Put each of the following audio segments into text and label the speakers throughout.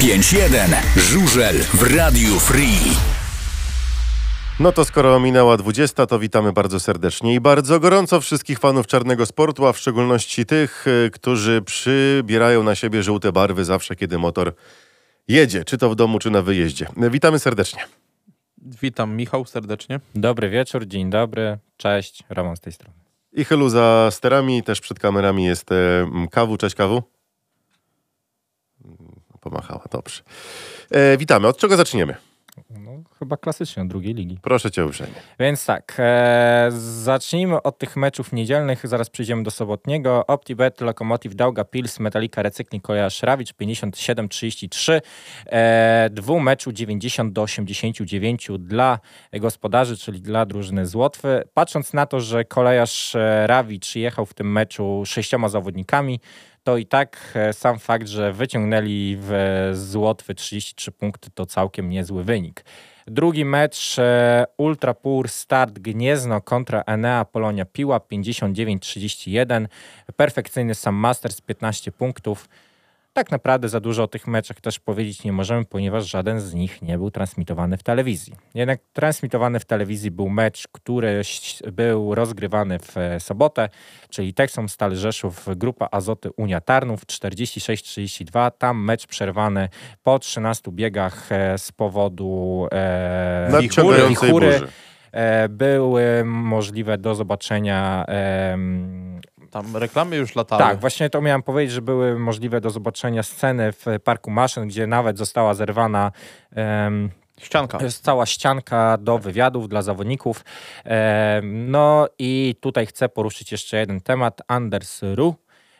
Speaker 1: 951. Żużel w Radiu Free.
Speaker 2: No to skoro minęła 20, to witamy bardzo serdecznie i bardzo gorąco wszystkich fanów czarnego sportu, a w szczególności tych, y, którzy przybierają na siebie żółte barwy zawsze, kiedy motor jedzie, czy to w domu, czy na wyjeździe. Y, Witamy serdecznie.
Speaker 3: Witam Michał serdecznie.
Speaker 4: Dobry wieczór, dzień dobry, cześć, Roman z tej strony.
Speaker 2: I Chylu za sterami, też przed kamerami jest e, m, Kawu. Cześć Kawu. Mm, Pomachała, dobrze. E, witamy. Od czego zaczniemy?
Speaker 4: No, chyba klasycznie od drugiej ligi.
Speaker 2: Proszę cię uprzejmie.
Speaker 4: Więc tak, e, zacznijmy od tych meczów niedzielnych, zaraz przejdziemy do sobotniego. OptiBet, Lokomotiv, Dauga, Pils, Metalika, Recykling, Koja, Szrawicz, 57-33. E, dwu meczu 90 do 89 dla gospodarzy, czyli dla drużyny z Łotwy. Patrząc na to, że kolejarz e, Rawicz jechał w tym meczu sześcioma zawodnikami, to i tak e, sam fakt, że wyciągnęli w, z Łotwy 33 punkty, to całkiem niezły wynik. Drugi mecz e, Ultra Pur Start Gniezno kontra Enea Polonia Piła 59-31. Perfekcyjny Sam Masters 15 punktów. Tak naprawdę za dużo o tych meczach też powiedzieć nie możemy, ponieważ żaden z nich nie był transmitowany w telewizji. Jednak transmitowany w telewizji był mecz, który ś- był rozgrywany w e, sobotę, czyli Texom Stal Rzeszów, Grupa Azoty Unia Tarnów 46-32. Tam mecz przerwany po 13 biegach e, z powodu e,
Speaker 2: Nadciągającej
Speaker 4: wichury.
Speaker 2: burzy.
Speaker 4: E, były możliwe do zobaczenia em,
Speaker 3: Tam reklamy już latały.
Speaker 4: tak, właśnie to miałem powiedzieć, że były możliwe do zobaczenia sceny w parku maszyn, gdzie nawet została zerwana em,
Speaker 3: Ścianka.
Speaker 4: jest cała ścianka do wywiadów dla zawodników. Em, No i tutaj chcę poruszyć jeszcze jeden temat. Anders Ru,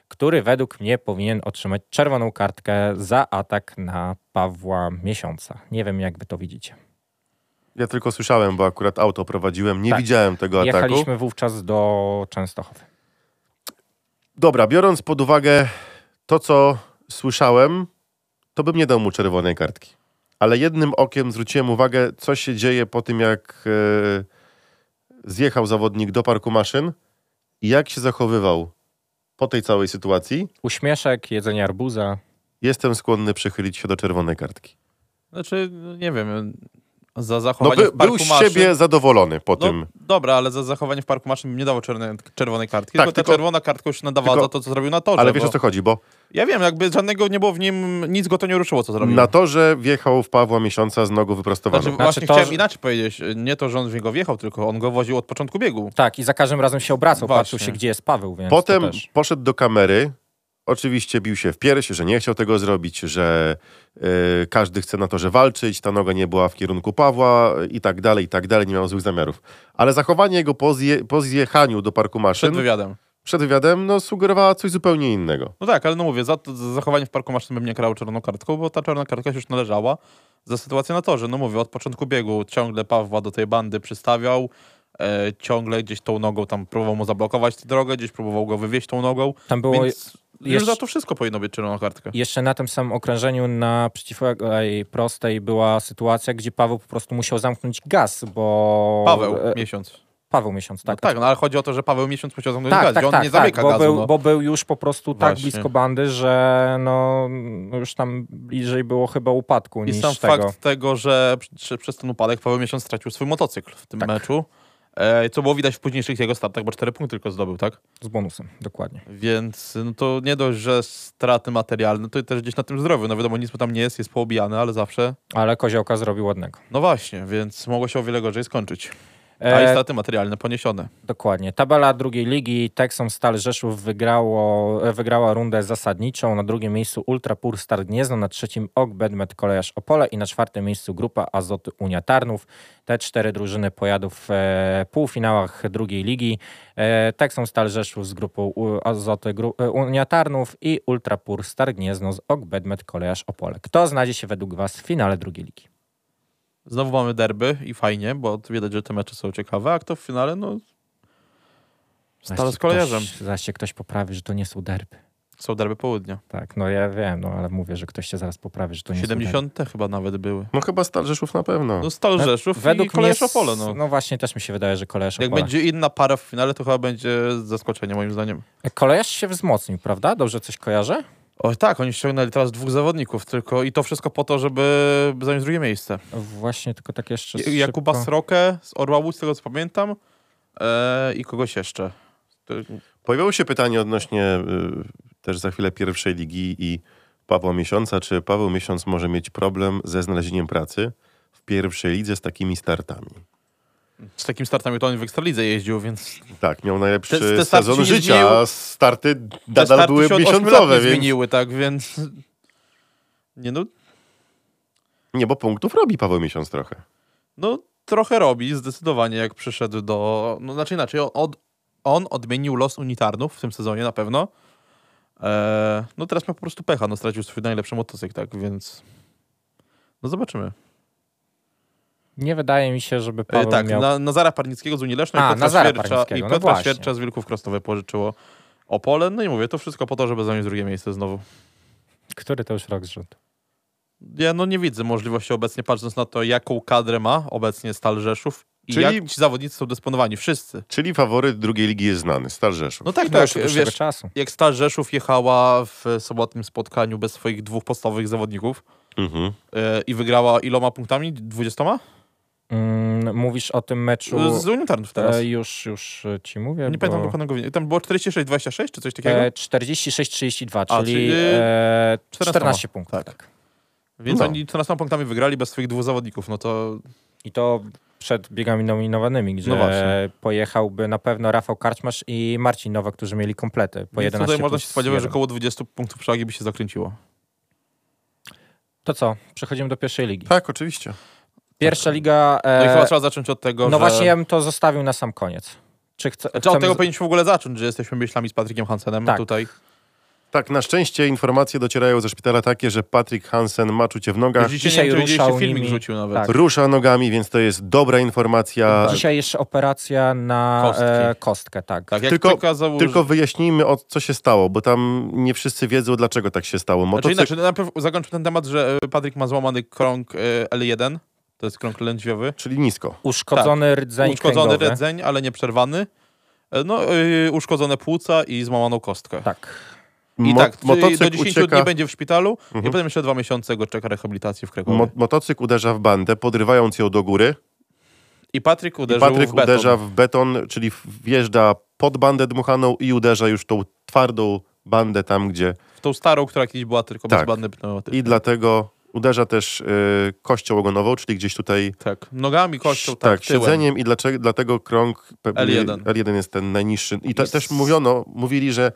Speaker 4: który według mnie powinien otrzymać czerwoną kartkę za atak na Pawła Miesiąca. Nie wiem, jak wy to widzicie.
Speaker 2: Ja tylko słyszałem, bo akurat auto prowadziłem, nie
Speaker 4: Tak.
Speaker 2: widziałem tego ataku.
Speaker 4: Jechaliśmy wówczas do Częstochowy.
Speaker 2: Dobra, biorąc pod uwagę to, co słyszałem, to bym nie dał mu czerwonej kartki. Ale jednym okiem zwróciłem uwagę, co się dzieje po tym, jak e, zjechał zawodnik do parku maszyn i jak się zachowywał po tej całej sytuacji.
Speaker 4: Uśmieszek, jedzenie arbuza.
Speaker 2: Jestem skłonny przychylić się do czerwonej kartki.
Speaker 3: Znaczy, no nie wiem, za
Speaker 2: No,
Speaker 3: zachowanie
Speaker 2: by,
Speaker 3: w parku
Speaker 2: był z
Speaker 3: maszyn...
Speaker 2: siebie zadowolony po
Speaker 3: no,
Speaker 2: tym.
Speaker 3: Dobra, ale za zachowanie w parku maszyn bym nie dało czerwonej, czerwonej kartki,
Speaker 2: Tak,
Speaker 3: tylko ta
Speaker 2: tylko-
Speaker 3: czerwona kartka już nadawała
Speaker 2: tylko-
Speaker 3: za to, co zrobił na torze.
Speaker 2: Ale wiesz
Speaker 3: bo...
Speaker 2: o co chodzi, bo
Speaker 3: Ja wiem, jakby żadnego nie było w nim, nic go to nie ruszyło, co zrobił.
Speaker 2: na torze wjechał w Pawła Miesiąca z nogą wyprostowaną.
Speaker 3: Znaczy, właśnie
Speaker 4: to,
Speaker 3: chciałem
Speaker 4: że-
Speaker 3: inaczej powiedzieć. Nie to, że on w niego wjechał, tylko on go woził od początku biegu.
Speaker 4: Tak, i za każdym razem się obracał,
Speaker 3: Właśnie.
Speaker 4: patrzył się, gdzie jest Paweł, więc
Speaker 2: Potem
Speaker 4: to też.
Speaker 2: poszedł do kamery. Oczywiście bił się w piersi, że nie chciał tego zrobić, że y, każdy chce na to, że walczyć, ta noga nie była w kierunku Pawła y, i tak dalej, i tak dalej, nie miał złych zamiarów. Ale zachowanie jego po, zje, po zjechaniu do parku maszyn
Speaker 3: Przed
Speaker 2: przed,
Speaker 3: wywiadem.
Speaker 2: wywiadem no, sugerowało coś zupełnie innego.
Speaker 3: No tak, ale no mówię, za, to- za zachowanie w parku maszyn bym nie karał czerwoną kartką, bo ta czerwona kartka się już należała za sytuację na torze. No mówię, od początku biegu ciągle Pawła do tej bandy przystawiał, e, ciągle gdzieś tą nogą tam próbował mu zablokować tę drogę, gdzieś próbował go wywieźć tą nogą,
Speaker 4: Tam było
Speaker 3: więc już
Speaker 4: jeszcze-
Speaker 3: za to wszystko powinno być czerwoną kartkę.
Speaker 4: Jeszcze na tym samym okrężeniu na przeciwległej prostej była sytuacja, gdzie Paweł po prostu musiał zamknąć gaz, bo...
Speaker 3: Paweł,
Speaker 4: e,
Speaker 3: miesiąc.
Speaker 4: Paweł Miesiąc,
Speaker 3: Tak,
Speaker 4: tak.
Speaker 3: no tak, no ale chodzi o to, że Paweł miesiąc musiał zamknąć
Speaker 4: tak,
Speaker 3: gaz,
Speaker 4: tak,
Speaker 3: gdzie on
Speaker 4: tak,
Speaker 3: nie
Speaker 4: tak,
Speaker 3: zamyka
Speaker 4: bo,
Speaker 3: gazu.
Speaker 4: był,
Speaker 3: no.
Speaker 4: bo był już po prostu tak
Speaker 3: Właśnie.
Speaker 4: blisko bandy, że no, no już tam bliżej było chyba upadku
Speaker 3: I
Speaker 4: niż
Speaker 3: sam
Speaker 4: tego.
Speaker 3: fakt tego, że przy- przy, przez ten upadek Paweł miesiąc stracił swój motocykl w
Speaker 4: Tak.
Speaker 3: tym meczu, e, co było widać w późniejszych jego startach, bo cztery punkty tylko zdobył, tak?
Speaker 4: Z bonusem, dokładnie.
Speaker 3: Więc no to nie dość, że straty materialne, to też gdzieś na tym zdrowiu. No wiadomo, nic mu tam nie jest, jest poobijany, ale zawsze.
Speaker 4: Ale Koziołka zrobił ładnego.
Speaker 3: No właśnie, więc mogło się o wiele gorzej skończyć. A i
Speaker 4: E,
Speaker 3: straty materialne poniesione.
Speaker 4: Dokładnie. Tabela drugiej ligi. Texom Stal Rzeszów wygrało, e, wygrała rundę zasadniczą. Na drugim miejscu Ultra Pur Star Gniezno, na trzecim Ok Bedmet Kolejarz Opole i na czwartym miejscu Grupa Azoty Unia Tarnów. Te cztery drużyny pojadą w e, półfinałach drugiej ligi. E, Texom Stal Rzeszów z grupą U- Azoty Gru, e, Unia Tarnów i Ultra Pur Star Gniezno z Ok Bedmet Kolejarz Opole. Kto znajdzie się według Was w finale drugiej ligi?
Speaker 3: Znowu mamy derby i fajnie, bo widać, że te mecze są ciekawe, a kto w finale, no... Stal z
Speaker 4: Zaś
Speaker 3: kolejarzem.
Speaker 4: ktoś- Zaś się ktoś poprawi, że to nie są derby.
Speaker 3: Są derby południa.
Speaker 4: Tak, no ja wiem, no ale mówię, że ktoś się zaraz poprawi, że to nie są
Speaker 3: 70 chyba nawet były.
Speaker 2: No chyba Stal Rzeszów na pewno.
Speaker 3: No Stal
Speaker 4: derby.
Speaker 3: Rzeszów
Speaker 4: Według
Speaker 3: i Kolejarz
Speaker 4: mnie s-
Speaker 3: Opole, no.
Speaker 4: no właśnie, też mi się wydaje, że Kolejarz
Speaker 3: Jak
Speaker 4: Opole.
Speaker 3: będzie inna para w
Speaker 4: E,
Speaker 3: finale, to chyba będzie zaskoczenie moim zdaniem.
Speaker 4: Kolejarz się wzmocnił, prawda? Dobrze coś kojarzę?
Speaker 3: O tak, oni ściągnęli teraz dwóch zawodników tylko i to wszystko po to, żeby zająć drugie miejsce.
Speaker 4: Właśnie tylko tak jeszcze
Speaker 3: Ja- Jakuba
Speaker 4: szybko.
Speaker 3: Srokę z Orła Łódź, z tego co pamiętam e, i kogoś jeszcze. To-
Speaker 2: Pojawiało się pytanie odnośnie y, też za chwilę pierwszej ligi i Pawła Miesiąca. Czy Paweł Miesiąc może mieć problem ze znalezieniem pracy w pierwszej lidze z takimi startami?
Speaker 3: Z takim startami to on w Ekstralidze jeździł, więc
Speaker 2: Tak, miał najlepszy
Speaker 3: Te- te starty
Speaker 2: sezon
Speaker 3: się nie
Speaker 2: życia,
Speaker 3: zmieniły.
Speaker 2: a starty
Speaker 3: te
Speaker 2: nadal
Speaker 3: starty
Speaker 2: były
Speaker 3: się od 8 lat
Speaker 2: miesiącowe,
Speaker 3: nie
Speaker 2: więc...
Speaker 3: zmieniły, tak, więc... Nie no,
Speaker 2: Nie, bo punktów robi Paweł Miesiąc trochę.
Speaker 3: No, trochę robi, zdecydowanie, jak przyszedł do. No, znaczy inaczej, on od, on odmienił los unitarnów w tym sezonie na pewno. Eee, no, teraz ma po prostu pecha, no, stracił swój najlepszy motocykl, tak więc. No, zobaczymy.
Speaker 4: Nie wydaje mi się, żeby
Speaker 3: Eee,
Speaker 4: Paweł
Speaker 3: tak,
Speaker 4: miał...
Speaker 3: na, Nazara Parnickiego z Unii Lesznej,
Speaker 4: A,
Speaker 3: Piotra,
Speaker 4: Nazara
Speaker 3: Świercza, i
Speaker 4: Parnickiego, no
Speaker 3: Piotra
Speaker 4: właśnie.
Speaker 3: Świercza z Wilków Krostowe pożyczyło Opole. No i mówię, to wszystko po to, żeby zająć drugie miejsce znowu.
Speaker 4: Który to już rok z rzędu?
Speaker 3: Tak, Ja no nie widzę możliwości obecnie, patrząc na to, jaką kadrę ma obecnie Stal Rzeszów i
Speaker 2: Czyli-
Speaker 3: jak ci zawodnicy są dysponowani. Wszyscy.
Speaker 2: Czyli faworyt drugiej ligi jest znany, Stal Rzeszów.
Speaker 3: No tak,
Speaker 4: No
Speaker 3: tak,
Speaker 4: już od dłuższego
Speaker 3: wiesz,
Speaker 4: czasu.
Speaker 3: jak Stal Rzeszów jechała w sobotnim spotkaniu bez swoich dwóch podstawowych zawodników
Speaker 2: Mhm.
Speaker 3: e, i wygrała iloma punktami? 20?
Speaker 4: Mm, mówisz o tym meczu...
Speaker 3: Z Unitarnów teraz.
Speaker 4: E, już, już e, ci mówię,
Speaker 3: Nie
Speaker 4: bo...
Speaker 3: pamiętam dokładnego wyniku. Tam było 46-26 czy coś takiego?
Speaker 4: E, 46-32,
Speaker 3: A,
Speaker 4: czyli,
Speaker 3: czyli,
Speaker 4: e,
Speaker 3: 14
Speaker 4: 14 punktów.
Speaker 3: Tak. Więc
Speaker 2: no.
Speaker 3: oni 14 punktami wygrali bez swoich dwóch zawodników. No to
Speaker 4: I to przed biegami nominowanymi, gdzie
Speaker 3: No właśnie.
Speaker 4: pojechałby na pewno Rafał Karczmasz i Marcin Nowak, którzy mieli komplety po
Speaker 3: więc
Speaker 4: 11
Speaker 3: tutaj można
Speaker 4: plus
Speaker 3: się spodziewać, że
Speaker 4: jeden.
Speaker 3: około 20 punktów przewagi by się zakręciło.
Speaker 4: To co? Przechodzimy do pierwszej ligi.
Speaker 2: Tak, oczywiście.
Speaker 4: Pierwsza liga... E,
Speaker 3: No i chyba trzeba zacząć od tego,
Speaker 4: no
Speaker 3: że...
Speaker 4: właśnie, ja bym to zostawił na sam koniec. Czy chce,
Speaker 3: Czy od
Speaker 4: chcemy-
Speaker 3: tego powinniśmy w ogóle zacząć, że jesteśmy myślami z Patrykiem Hansenem
Speaker 4: Tak.
Speaker 3: tutaj.
Speaker 2: Tak, na szczęście informacje docierają ze szpitala takie, że Patrick Hansen ma czucie w nogach,
Speaker 3: Widzicie,
Speaker 4: Dzisiaj
Speaker 3: nie wiem, czy widzieliście,
Speaker 4: ruszał
Speaker 3: filmik
Speaker 4: nimi.
Speaker 3: rzucił nawet.
Speaker 4: Tak.
Speaker 2: rusza nogami, więc to jest dobra informacja.
Speaker 4: Dzisiaj jeszcze operacja na
Speaker 3: Kostki.
Speaker 4: e, kostkę, tak.
Speaker 3: Tak, jak
Speaker 2: Tylko-
Speaker 3: tylko, pokazał,
Speaker 2: Tylko wyjaśnijmy, o co się stało, bo tam nie wszyscy wiedzą, dlaczego tak się stało.
Speaker 3: Znaczy
Speaker 2: Motocykl...
Speaker 3: inaczej, najpierw zakończmy ten temat, że e, Patryk ma złamany krąg e, L1, to jest krąg lędźwiowy.
Speaker 2: Czyli nisko.
Speaker 4: Uszkodzony rdzeń
Speaker 3: tak. uszkodzony
Speaker 4: kręgowy.
Speaker 3: rdzeń, ale nie przerwany. E, No, e, uszkodzone płuca i złamaną kostkę.
Speaker 4: Tak.
Speaker 3: I
Speaker 2: Mo-
Speaker 3: tak, czyli do
Speaker 2: motocykl
Speaker 3: 10
Speaker 2: ucieka... Mhm.
Speaker 3: dni będzie w szpitalu i potem jeszcze dwa miesiące go czeka rehabilitacji w Krakowie.
Speaker 2: Mo- motocykl uderza w bandę, podrywając ją do góry.
Speaker 3: I Patryk
Speaker 2: I
Speaker 3: uderzył
Speaker 2: Patryk
Speaker 3: w beton.
Speaker 2: uderza w beton, czyli wjeżdża pod bandę dmuchaną i uderza już tą twardą bandę tam, gdzie.
Speaker 3: w tą starą, która kiedyś była tylko
Speaker 2: Tak.
Speaker 3: bezbadny pneumatyk.
Speaker 2: I dlatego uderza też y, kością ogonową, czyli gdzieś tutaj.
Speaker 3: Tak, nogami, kością,
Speaker 2: ś-
Speaker 3: tak, tyłem.
Speaker 2: siedzeniem i dlaczego, dlatego krąg pe-
Speaker 3: L1.
Speaker 2: L1 jest ten najniższy. I te,
Speaker 4: Jest-
Speaker 2: też mówiono, mówili, że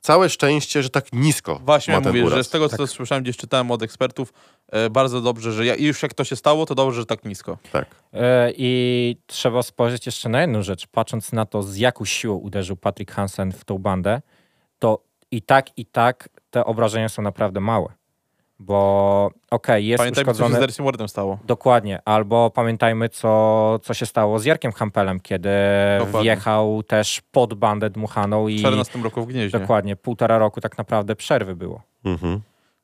Speaker 2: całe szczęście, że tak nisko
Speaker 3: Właśnie
Speaker 2: ma ten
Speaker 3: mówię, że
Speaker 2: uraz. Tak.
Speaker 3: z tego, co słyszałem, gdzieś czytałem od ekspertów, e, bardzo dobrze, że ja, i już jak to się stało, to dobrze, że tak nisko.
Speaker 2: Tak.
Speaker 4: E, I trzeba spojrzeć jeszcze na jedną rzecz. Patrząc na to, z jaką siłą uderzył Patrick Hansen w tą bandę, to i tak, i tak te obrażenia są naprawdę małe. Bo okej, jest
Speaker 3: Pamiętajmy, co się
Speaker 4: uszkodzony...
Speaker 3: z Dersim Wardem stało.
Speaker 4: Dokładnie. Albo pamiętajmy, co, co się stało z Jarkiem Hampelem, kiedy
Speaker 3: Dokładnie.
Speaker 4: wjechał też pod bandę dmuchaną
Speaker 3: W
Speaker 4: i
Speaker 3: 14 roku w Gnieźnie.
Speaker 4: dokładnie półtora roku tak naprawdę przerwy było.
Speaker 2: Mhm.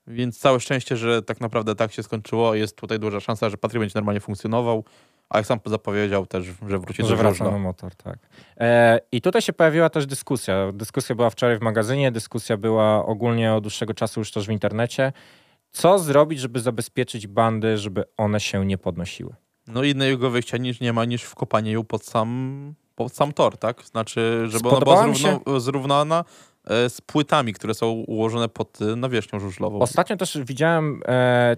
Speaker 3: Więc całe szczęście, że tak naprawdę tak się skończyło. Jest tutaj duża szansa, że Patryk będzie normalnie funkcjonował. A jak sam zapowiedział też, że wróci
Speaker 4: Że
Speaker 3: do
Speaker 4: wraca na
Speaker 3: Żużla.
Speaker 4: motor, tak. E, I tutaj się pojawiła też dyskusja. Dyskusja była wczoraj w magazynie, dyskusja była ogólnie od dłuższego czasu już też w internecie. Co zrobić, żeby zabezpieczyć bandy, żeby one się nie podnosiły?
Speaker 3: No i innego wyjścia niż nie ma, niż wkopanie ją pod sam, pod sam tor, tak? Znaczy, żeby
Speaker 4: Spodobało
Speaker 3: ona
Speaker 4: mi
Speaker 3: była zrówno, zrównana e, z płytami, które są ułożone pod e, nawierzchnią żużlową.
Speaker 4: Ostatnio też widziałem e,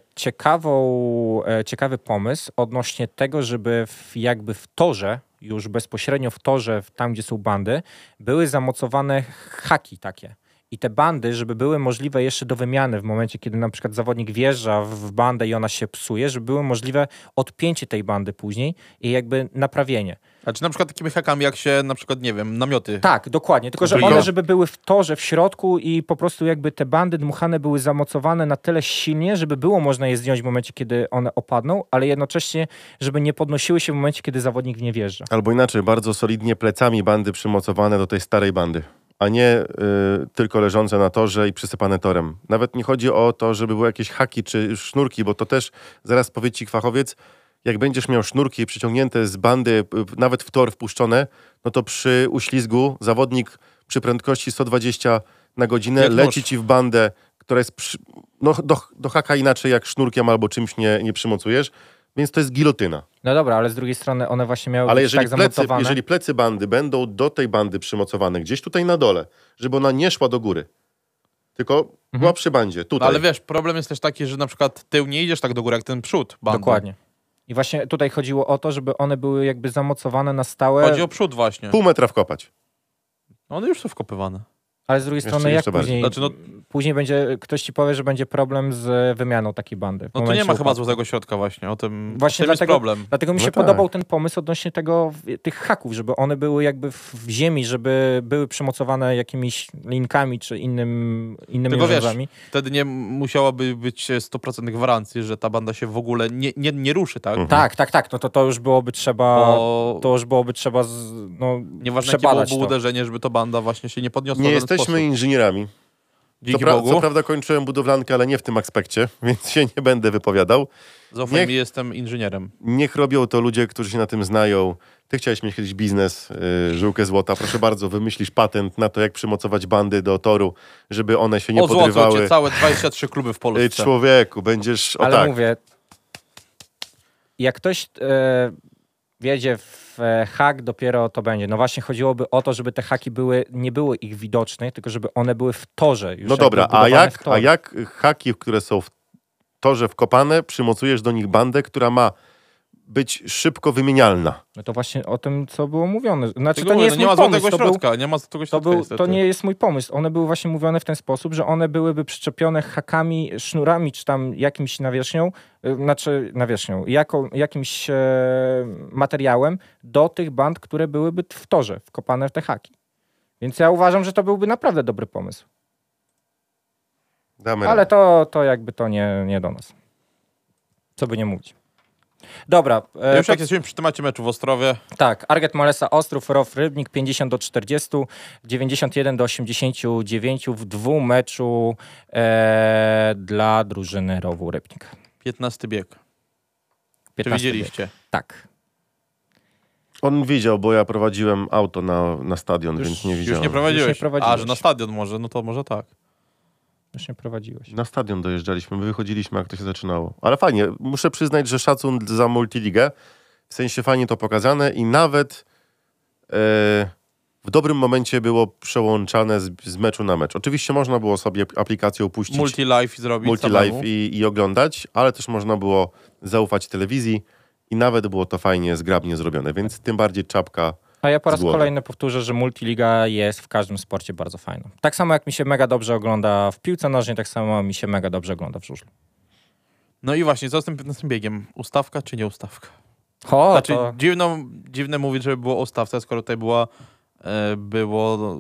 Speaker 4: ciekawą, e, ciekawy pomysł odnośnie tego, żeby w, jakby w torze, już bezpośrednio w torze, w- tam gdzie są bandy, były zamocowane haki takie. I te bandy, żeby były możliwe jeszcze do wymiany w momencie, kiedy na przykład zawodnik wjeżdża w- w bandę i ona się psuje, żeby były możliwe odpięcie tej bandy później i jakby naprawienie.
Speaker 3: Znaczy na przykład takimi hakami, jak się na przykład, nie wiem, namioty.
Speaker 4: Tak, dokładnie. Tylko, że
Speaker 2: Czyli
Speaker 4: one,
Speaker 2: to-
Speaker 4: żeby były w torze, w środku i po prostu jakby te bandy dmuchane były zamocowane na tyle silnie, żeby było można je zdjąć w momencie, kiedy one opadną, ale jednocześnie, żeby nie podnosiły się w momencie, kiedy zawodnik w nie wjeżdża.
Speaker 2: Albo inaczej, bardzo solidnie plecami bandy przymocowane do tej starej bandy, a nie y, tylko leżące na torze i przysypane torem. Nawet nie chodzi o to, żeby były jakieś haki czy sznurki, bo to też zaraz powie ci fachowiec, jak będziesz miał sznurki przyciągnięte z bandy, y, nawet w tor wpuszczone, no to przy uślizgu zawodnik przy prędkości 120 na godzinę
Speaker 3: Jak nóż.
Speaker 2: leci ci w bandę, która jest przy, no, do, do haka inaczej jak sznurkiem albo czymś nie, nie przymocujesz, więc to jest gilotyna.
Speaker 4: No dobra, ale z drugiej strony one właśnie miały
Speaker 2: Ale
Speaker 4: być
Speaker 2: jeżeli,
Speaker 4: tak
Speaker 2: plecy,
Speaker 4: zamontowane.
Speaker 2: jeżeli plecy bandy będą do tej bandy przymocowane, gdzieś tutaj na dole, żeby ona nie szła do góry, tylko
Speaker 4: Mhm.
Speaker 2: była przy bandzie,
Speaker 3: No,
Speaker 2: tutaj.
Speaker 3: ale wiesz, problem jest też taki, że na przykład tył nie idziesz tak do góry jak ten przód bandy.
Speaker 4: Dokładnie. I właśnie tutaj chodziło o to, żeby one były jakby zamocowane na stałe,
Speaker 3: Chodzi o przód właśnie. No
Speaker 2: Pół metra wkopać.
Speaker 3: One już są wkopywane.
Speaker 4: ale z drugiej
Speaker 2: Jeszcze-
Speaker 4: strony
Speaker 2: jeszcze
Speaker 4: jak
Speaker 2: bardziej.
Speaker 4: później,
Speaker 3: Znaczy, no,
Speaker 4: później będzie, ktoś ci powie, że będzie problem z wymianą takiej bandy. w
Speaker 3: no tu nie
Speaker 4: momencie
Speaker 3: ma chyba
Speaker 4: upadku.
Speaker 3: złotego środka właśnie, o tym,
Speaker 4: Właśnie
Speaker 3: o tym
Speaker 4: dlatego-
Speaker 3: jest problem.
Speaker 4: Dlatego mi
Speaker 2: No
Speaker 4: się
Speaker 2: tak.
Speaker 4: podobał ten pomysł odnośnie tego, w- tych haków, żeby one były jakby w, w ziemi, żeby były przymocowane jakimiś linkami czy innym, innymi
Speaker 3: Tylko wiesz,
Speaker 4: rzeczami.
Speaker 3: Wtedy nie musiałaby być e, 100% gwarancji, że ta banda się w ogóle nie, nie, nie ruszy, tak?
Speaker 2: Mhm.
Speaker 4: Tak, tak, tak, no to, to już byłoby trzeba,
Speaker 3: Bo
Speaker 4: to już byłoby trzeba, z, no,
Speaker 3: nieważne jakie
Speaker 4: przebadać
Speaker 3: byłoby
Speaker 4: to.
Speaker 3: uderzenie, żeby to banda właśnie się nie podniosła
Speaker 2: Nie
Speaker 3: w żaden
Speaker 2: jesteśmy
Speaker 3: sposób.
Speaker 2: inżynierami. Co,
Speaker 3: Dzięki
Speaker 2: pra- co
Speaker 3: Bogu.
Speaker 2: prawda kończyłem budowlankę, ale nie w tym aspekcie, więc się nie będę wypowiadał.
Speaker 3: Zaufaj
Speaker 2: niech-
Speaker 3: mi, jestem inżynierem.
Speaker 2: Niech robią to ludzie, którzy się na tym znają. Ty chciałeś mieć kiedyś biznes, yy, żyłkę złota. Proszę bardzo, wymyślisz patent na to, jak przymocować bandy do toru, żeby one się nie
Speaker 3: o złoto,
Speaker 2: podrywały.
Speaker 3: cię całe 23 kluby w
Speaker 2: Ej,
Speaker 3: Polsce.
Speaker 2: człowieku, będziesz... O
Speaker 4: Ale
Speaker 2: tak.
Speaker 4: mówię, jak ktoś e, wjedzie w e, hak, dopiero to będzie. No właśnie chodziłoby o to, żeby te haki były, nie były ich widoczne, tylko żeby one były w torze. Już
Speaker 2: No
Speaker 4: jakby
Speaker 2: dobra, a
Speaker 4: budowane w
Speaker 2: jak,
Speaker 4: torze.
Speaker 2: a jak haki, które są w torze wkopane, przymocujesz do nich bandę, która ma być szybko wymienialna?
Speaker 4: No to właśnie o tym, co było mówione. Znaczy,
Speaker 3: Tylko
Speaker 4: to nie
Speaker 3: mówię,
Speaker 4: jest
Speaker 3: no nie
Speaker 4: mój
Speaker 3: ma
Speaker 4: pomysł.
Speaker 3: złotego
Speaker 4: To, był,
Speaker 3: środka, nie ma złotego
Speaker 4: to,
Speaker 3: środka
Speaker 4: był, to
Speaker 3: niestety.
Speaker 4: nie jest mój pomysł. One były właśnie mówione w ten sposób, że one byłyby przyczepione hakami, sznurami, czy tam jakimś nawierzchnią, y, znaczy nawierzchnią, jako, jakimś e, materiałem do tych band, które byłyby t- w torze, wkopane w te haki. Więc ja uważam, że to byłby naprawdę dobry pomysł.
Speaker 2: Damy
Speaker 4: Ale
Speaker 2: radę.
Speaker 4: to, to jakby to nie, nie do nas. Co by nie mówić. Dobra. e,
Speaker 3: Już
Speaker 4: to-
Speaker 3: jak jesteśmy przy temacie meczu w Ostrowie,
Speaker 4: tak, Arget Malesa Ostrów, Rof Rybnik 50 do 40, 91 do 89 w dwóch meczu e, dla drużyny Rowu Rybnik.
Speaker 3: 15 bieg.
Speaker 4: 15
Speaker 3: Czy widzieliście?
Speaker 4: Tak.
Speaker 2: On widział, bo ja prowadziłem auto na, na stadion,
Speaker 3: Już,
Speaker 2: więc nie
Speaker 3: już
Speaker 2: widziałem.
Speaker 3: nie prowadziłeś.
Speaker 4: Już nie prowadziłeś.
Speaker 3: A, że na stadion może, no to może tak.
Speaker 4: Już nie prowadziłeś.
Speaker 2: Na stadion dojeżdżaliśmy, my wychodziliśmy, jak to się zaczynało. Ale fajnie, muszę przyznać, że szacun za multiligę. W sensie fajnie to pokazane i nawet e, w dobrym momencie było przełączane z, z meczu na mecz. Oczywiście można było sobie aplikację opuścić.
Speaker 3: Multi-life zrobić samemu.
Speaker 2: multilive i, i oglądać, ale też można było zaufać telewizji i nawet było to fajnie, zgrabnie zrobione, więc tym bardziej czapka.
Speaker 4: A ja po
Speaker 2: Z
Speaker 4: raz
Speaker 2: głowy.
Speaker 4: kolejny powtórzę, że multiliga jest w każdym sporcie bardzo fajna. Tak samo jak mi się mega dobrze ogląda w piłce nożnej, tak samo mi się mega dobrze ogląda w żużlu.
Speaker 3: No i właśnie, co z tym 15 biegiem? Ustawka czy nie ustawka?
Speaker 4: O,
Speaker 3: znaczy,
Speaker 4: to...
Speaker 3: dziwno, dziwne mówić, żeby było ustawce, skoro tutaj była, e, było,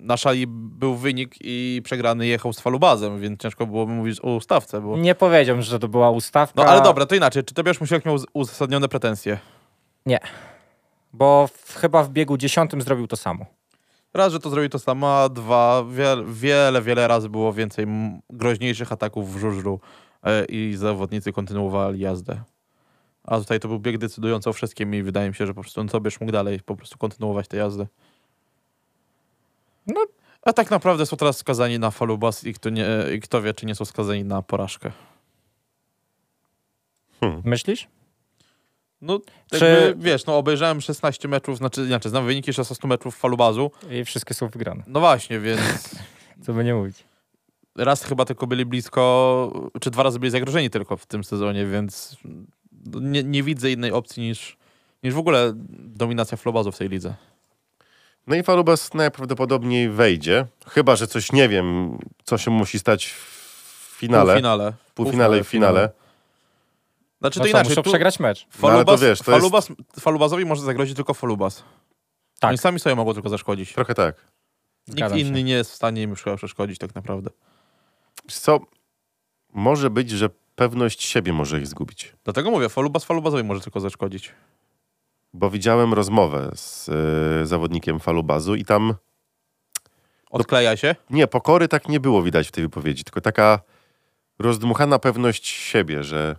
Speaker 3: na szali był wynik i przegrany jechał z falubazem, więc ciężko byłoby mówić o ustawce. Bo...
Speaker 4: Nie powiedziałbym, że to była ustawka.
Speaker 3: No ale dobra, to inaczej. Czy Tobiasz Musielek miał uz- uzasadnione pretensje?
Speaker 4: Bo w, chyba w biegu dziesiątym zrobił to samo.
Speaker 3: Raz, że to zrobił to samo, a dwa, wiele, wiele, wiele razy było więcej m- groźniejszych ataków w żużlu e, i zawodnicy kontynuowali jazdę. A tutaj to był bieg decydujący o wszystkim i wydaje mi się, że po prostu on sobie mógł dalej po prostu kontynuować tę jazdę.
Speaker 4: No.
Speaker 3: A tak naprawdę są teraz skazani na falubas i kto, nie, e, i kto wie, czy nie są skazani na porażkę.
Speaker 4: Myślisz?
Speaker 3: No,
Speaker 4: Czy-
Speaker 3: jakby, wiesz, no obejrzałem 16 meczów, znaczy, znaczy znam wyniki 16 meczów falubazu.
Speaker 4: I wszystkie są wygrane,
Speaker 3: No właśnie, więc...
Speaker 4: co by nie mówić.
Speaker 3: raz chyba tylko byli blisko, czy dwa razy byli zagrożeni tylko w tym sezonie, więc nie, nie widzę innej opcji niż, niż w ogóle dominacja Flobazu w tej lidze.
Speaker 2: No i Falubas najprawdopodobniej wejdzie, chyba że coś nie wiem, co się musi stać w finale, półfinale,
Speaker 3: Półfinale.
Speaker 2: i finale.
Speaker 3: Znaczy
Speaker 4: no
Speaker 3: to
Speaker 4: co,
Speaker 3: inaczej.
Speaker 4: muszą
Speaker 3: Tu
Speaker 4: przegrać mecz.
Speaker 2: No ale
Speaker 3: Falubas,
Speaker 2: to wiesz, to jest-
Speaker 3: Falubas, Falubazowi może zagrozić tylko Falubas.
Speaker 4: Tak.
Speaker 3: Oni sami sobie mogą tylko zaszkodzić.
Speaker 2: Trochę tak.
Speaker 3: Nikt
Speaker 4: Zgadzam się.
Speaker 3: inny nie jest w stanie im już przeszkodzić tak naprawdę.
Speaker 2: Wiesz Co może być, że pewność siebie może ich zgubić.
Speaker 3: Dlatego mówię, Falubas Falubazowi może tylko zaszkodzić.
Speaker 2: Bo widziałem rozmowę z y, zawodnikiem Falubazu i tam
Speaker 3: Odkleja się.
Speaker 2: Nie, pokory tak nie było widać w tej wypowiedzi, tylko taka rozdmuchana pewność siebie, że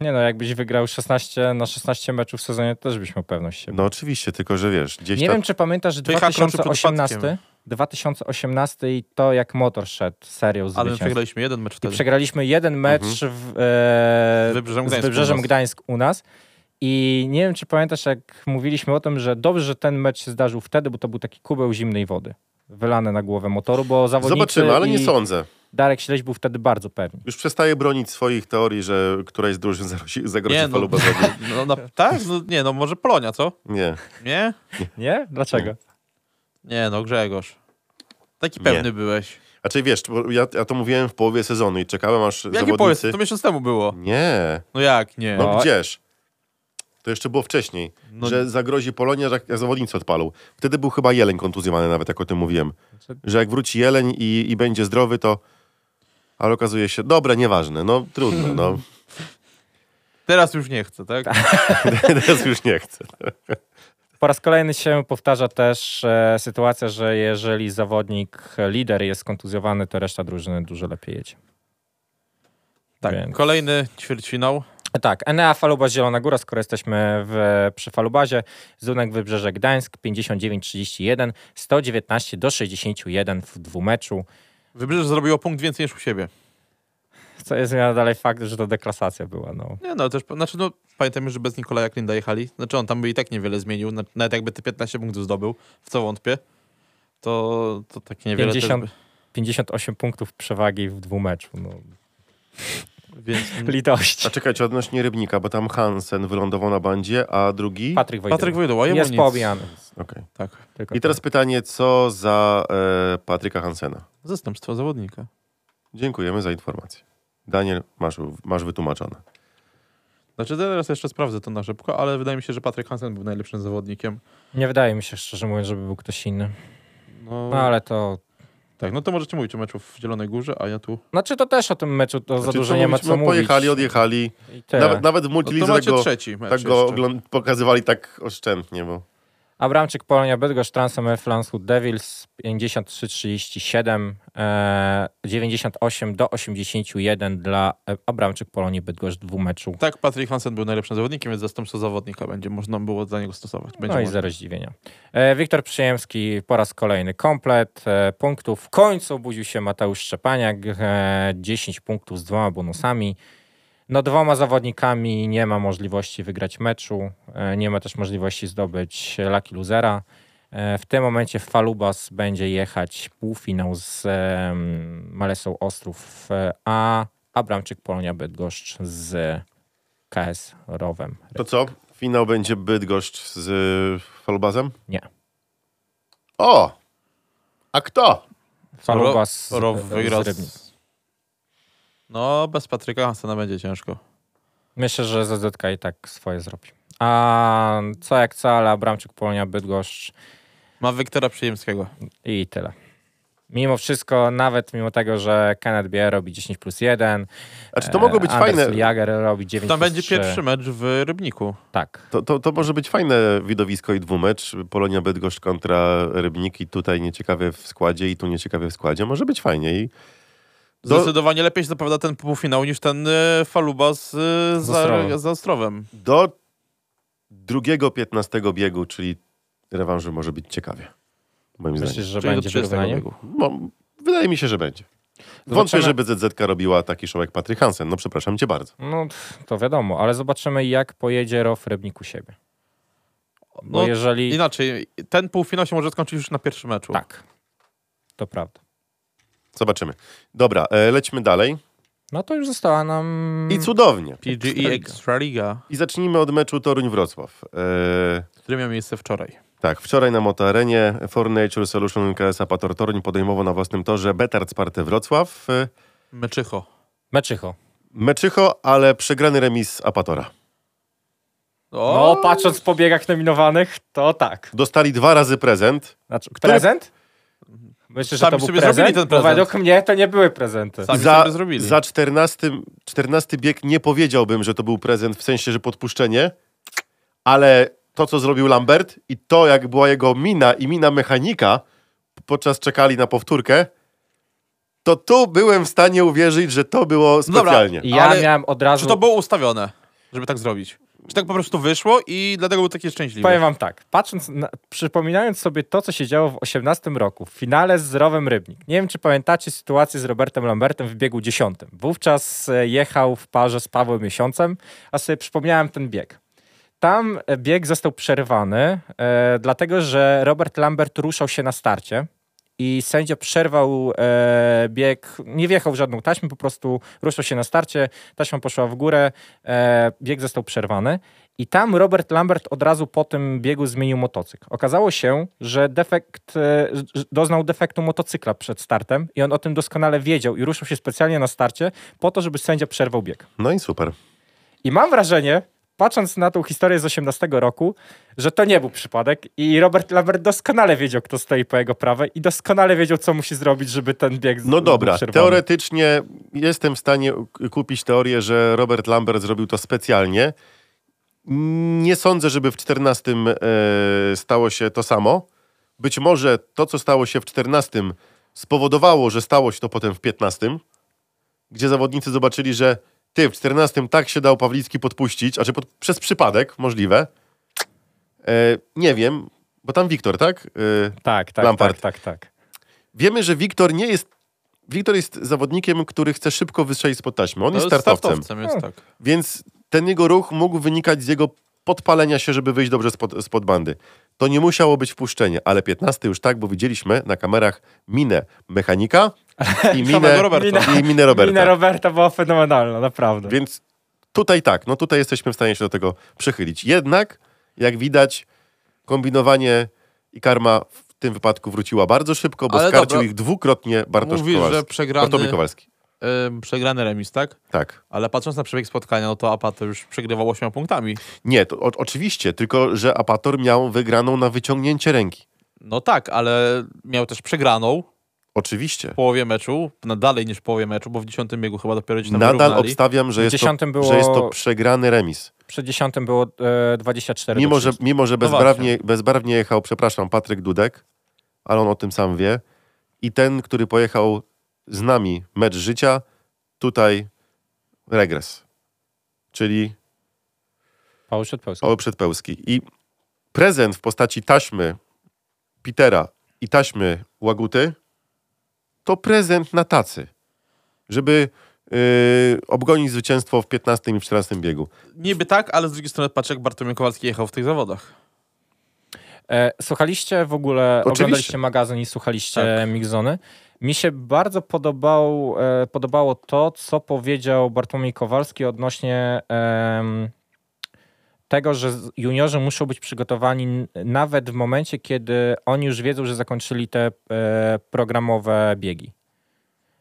Speaker 4: Nie no, jakbyś wygrał 16 na 16 meczów w sezonie, to też byś miał pewność siebie.
Speaker 2: no oczywiście, tylko że wiesz, gdzieś
Speaker 4: Tak.
Speaker 3: tak.
Speaker 4: nie
Speaker 2: tam
Speaker 4: wiem, czy pamiętasz
Speaker 3: Ty, Hakro, czy przed
Speaker 4: 2018,
Speaker 3: upadkiem?
Speaker 4: 2018 i to jak motor szedł serią z
Speaker 3: Ale my przegraliśmy jeden mecz
Speaker 4: I
Speaker 3: wtedy.
Speaker 4: przegraliśmy jeden mecz w, e,
Speaker 3: Z Wybrzeżem
Speaker 4: z
Speaker 3: Gdańsk u
Speaker 4: Wybrzeżem
Speaker 3: nas.
Speaker 4: Gdańsk u nas. I nie wiem, czy pamiętasz, jak mówiliśmy o tym, że dobrze, że ten mecz się zdarzył wtedy, bo to był taki kubeł zimnej wody wylane na głowę motoru, bo zawodnicy
Speaker 2: Zobaczymy, ale nie
Speaker 4: i
Speaker 2: sądzę.
Speaker 4: Darek Śleś był wtedy bardzo pewny.
Speaker 2: Już przestaję bronić swoich teorii, że któraś z drużyn zagrozi, zagrozi
Speaker 3: Nie, no,
Speaker 2: falu bezowi.
Speaker 3: no, no, tak? No, nie, no może Polonia, co?
Speaker 2: Nie.
Speaker 3: Nie?
Speaker 4: Nie? Dlaczego?
Speaker 3: Nie, no Grzegorz. Taki pewny
Speaker 2: Nie.
Speaker 3: byłeś.
Speaker 2: Znaczy wiesz, bo ja, ja to mówiłem w połowie sezonu i czekałem aż
Speaker 3: Jaki powiedz?
Speaker 2: zawodnicy...
Speaker 3: To miesiąc temu było.
Speaker 2: Nie,
Speaker 3: No jak nie?
Speaker 2: no
Speaker 4: No.
Speaker 2: gdzież? To jeszcze było wcześniej,
Speaker 3: No-
Speaker 2: że zagrozi Polonia, że jak zawodnicy odpalą. Wtedy był chyba Jeleń kontuzjowany nawet, jak o tym mówiłem.
Speaker 4: Znaczy-
Speaker 2: Że jak wróci Jeleń i, i będzie zdrowy, to... Ale okazuje się, dobre, nieważne, no trudno, no.
Speaker 3: Teraz już nie chcę, tak?
Speaker 2: Teraz już nie chcę.
Speaker 4: Po raz kolejny się powtarza też e, sytuacja, że jeżeli zawodnik, e, lider jest kontuzjowany, to reszta drużyny dużo lepiej jedzie.
Speaker 3: Tak.
Speaker 4: Więc-
Speaker 3: Kolejny ćwierćfinał.
Speaker 4: Tak, Enea Falubaz Zielona Góra, skoro jesteśmy w, przy Falubazie, Zunek Wybrzeże Gdańsk 59-31, 119 do 61 w dwumeczu,
Speaker 3: Wybrzeże zrobiło punkt więcej niż u siebie.
Speaker 4: co jest miała dalej fakt, że to deklasacja była. No.
Speaker 3: Nie, no ale też, znaczy no, pamiętajmy, że bez Nikolaja Klinda jechali. Znaczy on tam by i tak niewiele zmienił, na- nawet jakby te 15 punktów zdobył, w co wątpię, to, to tak niewiele
Speaker 4: 50,
Speaker 3: też
Speaker 4: 58 punktów przewagi w dwumeczu. No.
Speaker 3: by, więc
Speaker 4: Litość.
Speaker 2: A czekajcie, odnośnie Rybnika, bo tam Hansen wylądował na bandzie, a drugi...
Speaker 4: Patryk Wojtyła.
Speaker 3: Patryk Wojdoła, jemu
Speaker 4: Jest
Speaker 3: nic.
Speaker 4: poobijany.
Speaker 2: Okej.
Speaker 3: Tak,
Speaker 4: Tylko
Speaker 2: I teraz pytanie, co za e, Patryka Hansena?
Speaker 3: zastępstwo zawodnika.
Speaker 2: Dziękujemy za informację. Daniel, masz, masz wytłumaczone.
Speaker 3: Znaczy teraz jeszcze sprawdzę to na szybko, ale wydaje mi się, że Patryk Hansen był najlepszym zawodnikiem.
Speaker 4: tak. Nie wydaje mi się, szczerze mówiąc, żeby był ktoś inny.
Speaker 3: No,
Speaker 4: No ale to...
Speaker 3: Tak, no to możecie mówić o meczu w Zielonej Górze, a ja tu... no
Speaker 4: Znaczy to też o tym meczu to za
Speaker 2: Znaczy,
Speaker 4: dużo nie ma
Speaker 2: mówić?
Speaker 4: co
Speaker 2: no,
Speaker 4: mówić.
Speaker 2: Pojechali, odjechali.
Speaker 4: I tyle.
Speaker 2: Nawet, nawet w
Speaker 3: No to macie
Speaker 2: multilidze go,
Speaker 3: trzeci mecz
Speaker 2: tak go
Speaker 3: jeszcze.
Speaker 2: ogląd- pokazywali tak oszczędnie, bo
Speaker 4: Abramczyk, Polonia, Bydgoszcz, Transamer, Flanshut, Devils 53-37, e, 98 do 81 dla e, Abramczyk, Polonii, Bydgoszcz dwumeczu.
Speaker 3: Tak, Patryk Hansen był najlepszym zawodnikiem, więc zastępstwo zawodnika będzie można było dla niego stosować. Będzie
Speaker 4: No i
Speaker 3: można.
Speaker 4: zero zdziwienia. E, Wiktor Przyjemski po raz kolejny komplet e, punktów. W końcu budził się Mateusz Szczepaniak, e, 10 punktów z dwoma bonusami. No dwoma zawodnikami nie ma możliwości wygrać meczu, e, nie ma też możliwości zdobyć Lucky Losera. E, W tym momencie Falubas będzie jechać półfinał z em, Malesą Ostrów, e, a Abramczyk Polonia Bydgoszcz z KS Rowem.
Speaker 2: to co? Finał będzie Bydgoszcz z y, Falubazem?
Speaker 4: Nie.
Speaker 2: O! A kto?
Speaker 4: Falubas z-
Speaker 3: Row
Speaker 4: z
Speaker 3: wygra.
Speaker 4: Rybnik.
Speaker 3: Z... No, bez Patryka Hansena będzie ciężko.
Speaker 4: Myślę, że ZZK i tak swoje zrobi. A co jak co, ale Abramczyk, Polonia, Bydgoszcz
Speaker 3: Ma Wiktora Przyjemskiego.
Speaker 4: i tyle. Mimo wszystko, nawet mimo tego, że Kenneth Bier robi 10 plus 1,
Speaker 2: Znaczy,
Speaker 4: E,
Speaker 2: to mogą być fajne.
Speaker 4: Jager robi 9
Speaker 3: Tam
Speaker 4: plus
Speaker 3: będzie
Speaker 4: 3.
Speaker 3: pierwszy mecz w Rybniku.
Speaker 4: Tak.
Speaker 2: To, to, to może być fajne widowisko i dwumecz. Polonia Bydgoszcz kontra Rybnik i tutaj nieciekawie w składzie i tu nieciekawie w składzie. Może być fajnie. I Do-
Speaker 3: Zdecydowanie lepiej się zapowiada ten półfinał niż ten y, Faluba z, y,
Speaker 4: Z
Speaker 3: za,
Speaker 4: Ostrowem.
Speaker 3: z Ostrowem.
Speaker 2: do drugiego 15 biegu, czyli rewanżu może być ciekawie. Moim
Speaker 4: Myślisz,
Speaker 2: zdaniem.
Speaker 4: że
Speaker 3: Czyli do
Speaker 4: będzie
Speaker 3: 30
Speaker 4: wyrównanie?
Speaker 3: biegu.
Speaker 2: No, wydaje mi się, że będzie. Wątpię, żeby ZZK robiła taki show jak Patryk Hansen. No przepraszam cię bardzo.
Speaker 4: No pff, to wiadomo, ale zobaczymy jak pojedzie Rof Rybnik u siebie. Bo
Speaker 3: No,
Speaker 4: jeżeli...
Speaker 3: Inaczej, ten półfinał się może skończyć już na pierwszym meczu.
Speaker 4: Tak. To prawda.
Speaker 2: Zobaczymy. Dobra, e, lećmy dalej.
Speaker 4: No to już została nam...
Speaker 2: I cudownie.
Speaker 3: PGE Ekstraliga,
Speaker 2: I zacznijmy od meczu Toruń-Wrocław. E,
Speaker 3: który miał miejsce wczoraj.
Speaker 2: Tak, wczoraj na Motoarenie Fornature Solution KS Apator Toruń podejmował na własnym torze Betard Spartę Wrocław. Y,
Speaker 3: Meczycho.
Speaker 4: Meczycho.
Speaker 2: Meczycho, ale przegrany remis Apatora.
Speaker 4: No patrząc po biegach nominowanych, to tak.
Speaker 2: Dostali dwa razy prezent.
Speaker 4: Znaczy,
Speaker 2: Który-
Speaker 4: prezent? Myślę, że
Speaker 3: Sami
Speaker 4: to był
Speaker 3: sobie
Speaker 4: prezent,
Speaker 3: zrobili ten
Speaker 4: bo
Speaker 3: prezent.
Speaker 4: według mnie to nie były prezenty.
Speaker 3: Sami
Speaker 2: za,
Speaker 3: sobie zrobili.
Speaker 2: za 14, 14 bieg nie powiedziałbym, że to był prezent, w sensie, że podpuszczenie, ale to, co zrobił Lambert i to, jak była jego mina i mina mechanika podczas czekali na powtórkę, to tu byłem w stanie uwierzyć, że to było
Speaker 3: Dobra.
Speaker 2: specjalnie.
Speaker 4: I Ja
Speaker 3: Ale
Speaker 4: miałem od razu...
Speaker 3: Czy to było ustawione, żeby tak zrobić? Czy tak po prostu wyszło i dlatego był taki szczęśliwy?
Speaker 4: Powiem wam tak, patrząc, na, przypominając sobie to, co się działo w 18 roku, w finale z Rowem Rybnik. Nie wiem, czy pamiętacie sytuację z Robertem Lambertem w biegu 10. Wówczas e, jechał w parze z Pawłem Miesiącem, a sobie przypomniałem ten bieg. Tam e, bieg został przerwany, e, dlatego że Robert Lambert ruszał się na starcie i sędzia przerwał e, bieg, nie wjechał w żadną taśmę, po prostu ruszał się na starcie, taśma poszła w górę, e, bieg został przerwany. I tam Robert Lambert od razu po tym biegu zmienił motocykl. Okazało się, że defekt, e, że doznał defektu motocykla przed startem i on o tym doskonale wiedział i ruszył się specjalnie na starcie po to, żeby sędzia przerwał bieg.
Speaker 2: No i super.
Speaker 4: I mam wrażenie, patrząc na tą historię z 18 roku, że to nie był przypadek i Robert Lambert doskonale wiedział, kto stoi po jego prawej i doskonale wiedział, co musi zrobić, żeby ten bieg z-
Speaker 2: No dobra,
Speaker 4: był przerwany.
Speaker 2: teoretycznie jestem w stanie k- kupić teorię, że Robert Lambert zrobił to specjalnie. Nie sądzę, żeby w 14 e, stało się to samo. Być może to, co stało się w 14 spowodowało, że stało się to potem w 15, gdzie zawodnicy zobaczyli, że ty w 14 tak się dał Pawlicki podpuścić, a czy pod, przez przypadek możliwe. E, nie wiem, bo tam Wiktor, tak? E,
Speaker 4: Tak, tak,
Speaker 2: Lampard.
Speaker 4: tak, tak, tak.
Speaker 2: wiemy, że Wiktor nie jest. Wiktor jest zawodnikiem, który chce szybko wystrzelić spod taśmy. On
Speaker 3: To
Speaker 2: jest startowcem,
Speaker 3: jest tak.
Speaker 2: więc ten jego ruch mógł wynikać z jego podpalenia się, żeby wyjść dobrze spod, spod bandy. To nie musiało być wpuszczenie, ale 15 już tak, bo widzieliśmy na kamerach minę mechanika i minę
Speaker 3: Samego Roberta.
Speaker 2: I minę Roberta.
Speaker 4: Mina Roberta była fenomenalna, naprawdę.
Speaker 2: Więc tutaj tak, no tutaj jesteśmy w stanie się do tego przychylić. Jednak, jak widać, kombinowanie i karma w tym wypadku wróciła bardzo szybko, bo
Speaker 3: Ale
Speaker 2: skarcił
Speaker 3: dobra.
Speaker 2: ich dwukrotnie Bartosz
Speaker 3: Mówisz,
Speaker 2: Kowalski.
Speaker 3: że przegrany-
Speaker 2: Bartomi Kowalski,
Speaker 3: Ym, przegrany remis, tak?
Speaker 2: tak.
Speaker 3: Ale patrząc na przebieg spotkania, no to Apato już przegrywał 8 punktami.
Speaker 2: Nie, to o, oczywiście, tylko że Apator miał wygraną na wyciągnięcie ręki.
Speaker 3: No tak, ale miał też przegraną
Speaker 2: Oczywiście.
Speaker 3: w połowie meczu, na dalej niż w połowie meczu, bo w 10 biegu chyba dopiero ci tam
Speaker 2: Nadal
Speaker 3: wyrównali.
Speaker 2: obstawiam, że jest, to,
Speaker 4: dziesiątym było-
Speaker 2: że jest to przegrany remis.
Speaker 4: Przed dziesiątym było e, 24
Speaker 2: Mimo
Speaker 4: do
Speaker 2: że,
Speaker 4: 30.
Speaker 2: mimo, że
Speaker 3: No
Speaker 2: bezbarwnie, bezbarwnie jechał, przepraszam, Patryk Dudek, ale on o tym sam wie. I ten, który pojechał z nami mecz życia, tutaj regres. Czyli
Speaker 4: Paweł Przedpełski.
Speaker 2: Paweł Przedpełski. I prezent w postaci taśmy Pitera i taśmy Łaguty to prezent na tacy, żeby yy, obgonić zwycięstwo w 15 i 14 biegu.
Speaker 3: Niby tak, ale z drugiej strony patrz, jak Bartomiej Kowalski jechał w tych zawodach. No
Speaker 4: E, słuchaliście w ogóle,
Speaker 2: Oczywiście.
Speaker 4: oglądaliście magazyn i słuchaliście
Speaker 3: Tak.
Speaker 4: Mixzony. Mi się bardzo podobał, e, podobało to, co powiedział Bartłomiej Kowalski odnośnie em, tego, że z- juniorzy muszą być przygotowani n- nawet w momencie, kiedy oni już wiedzą, że zakończyli te e, programowe biegi.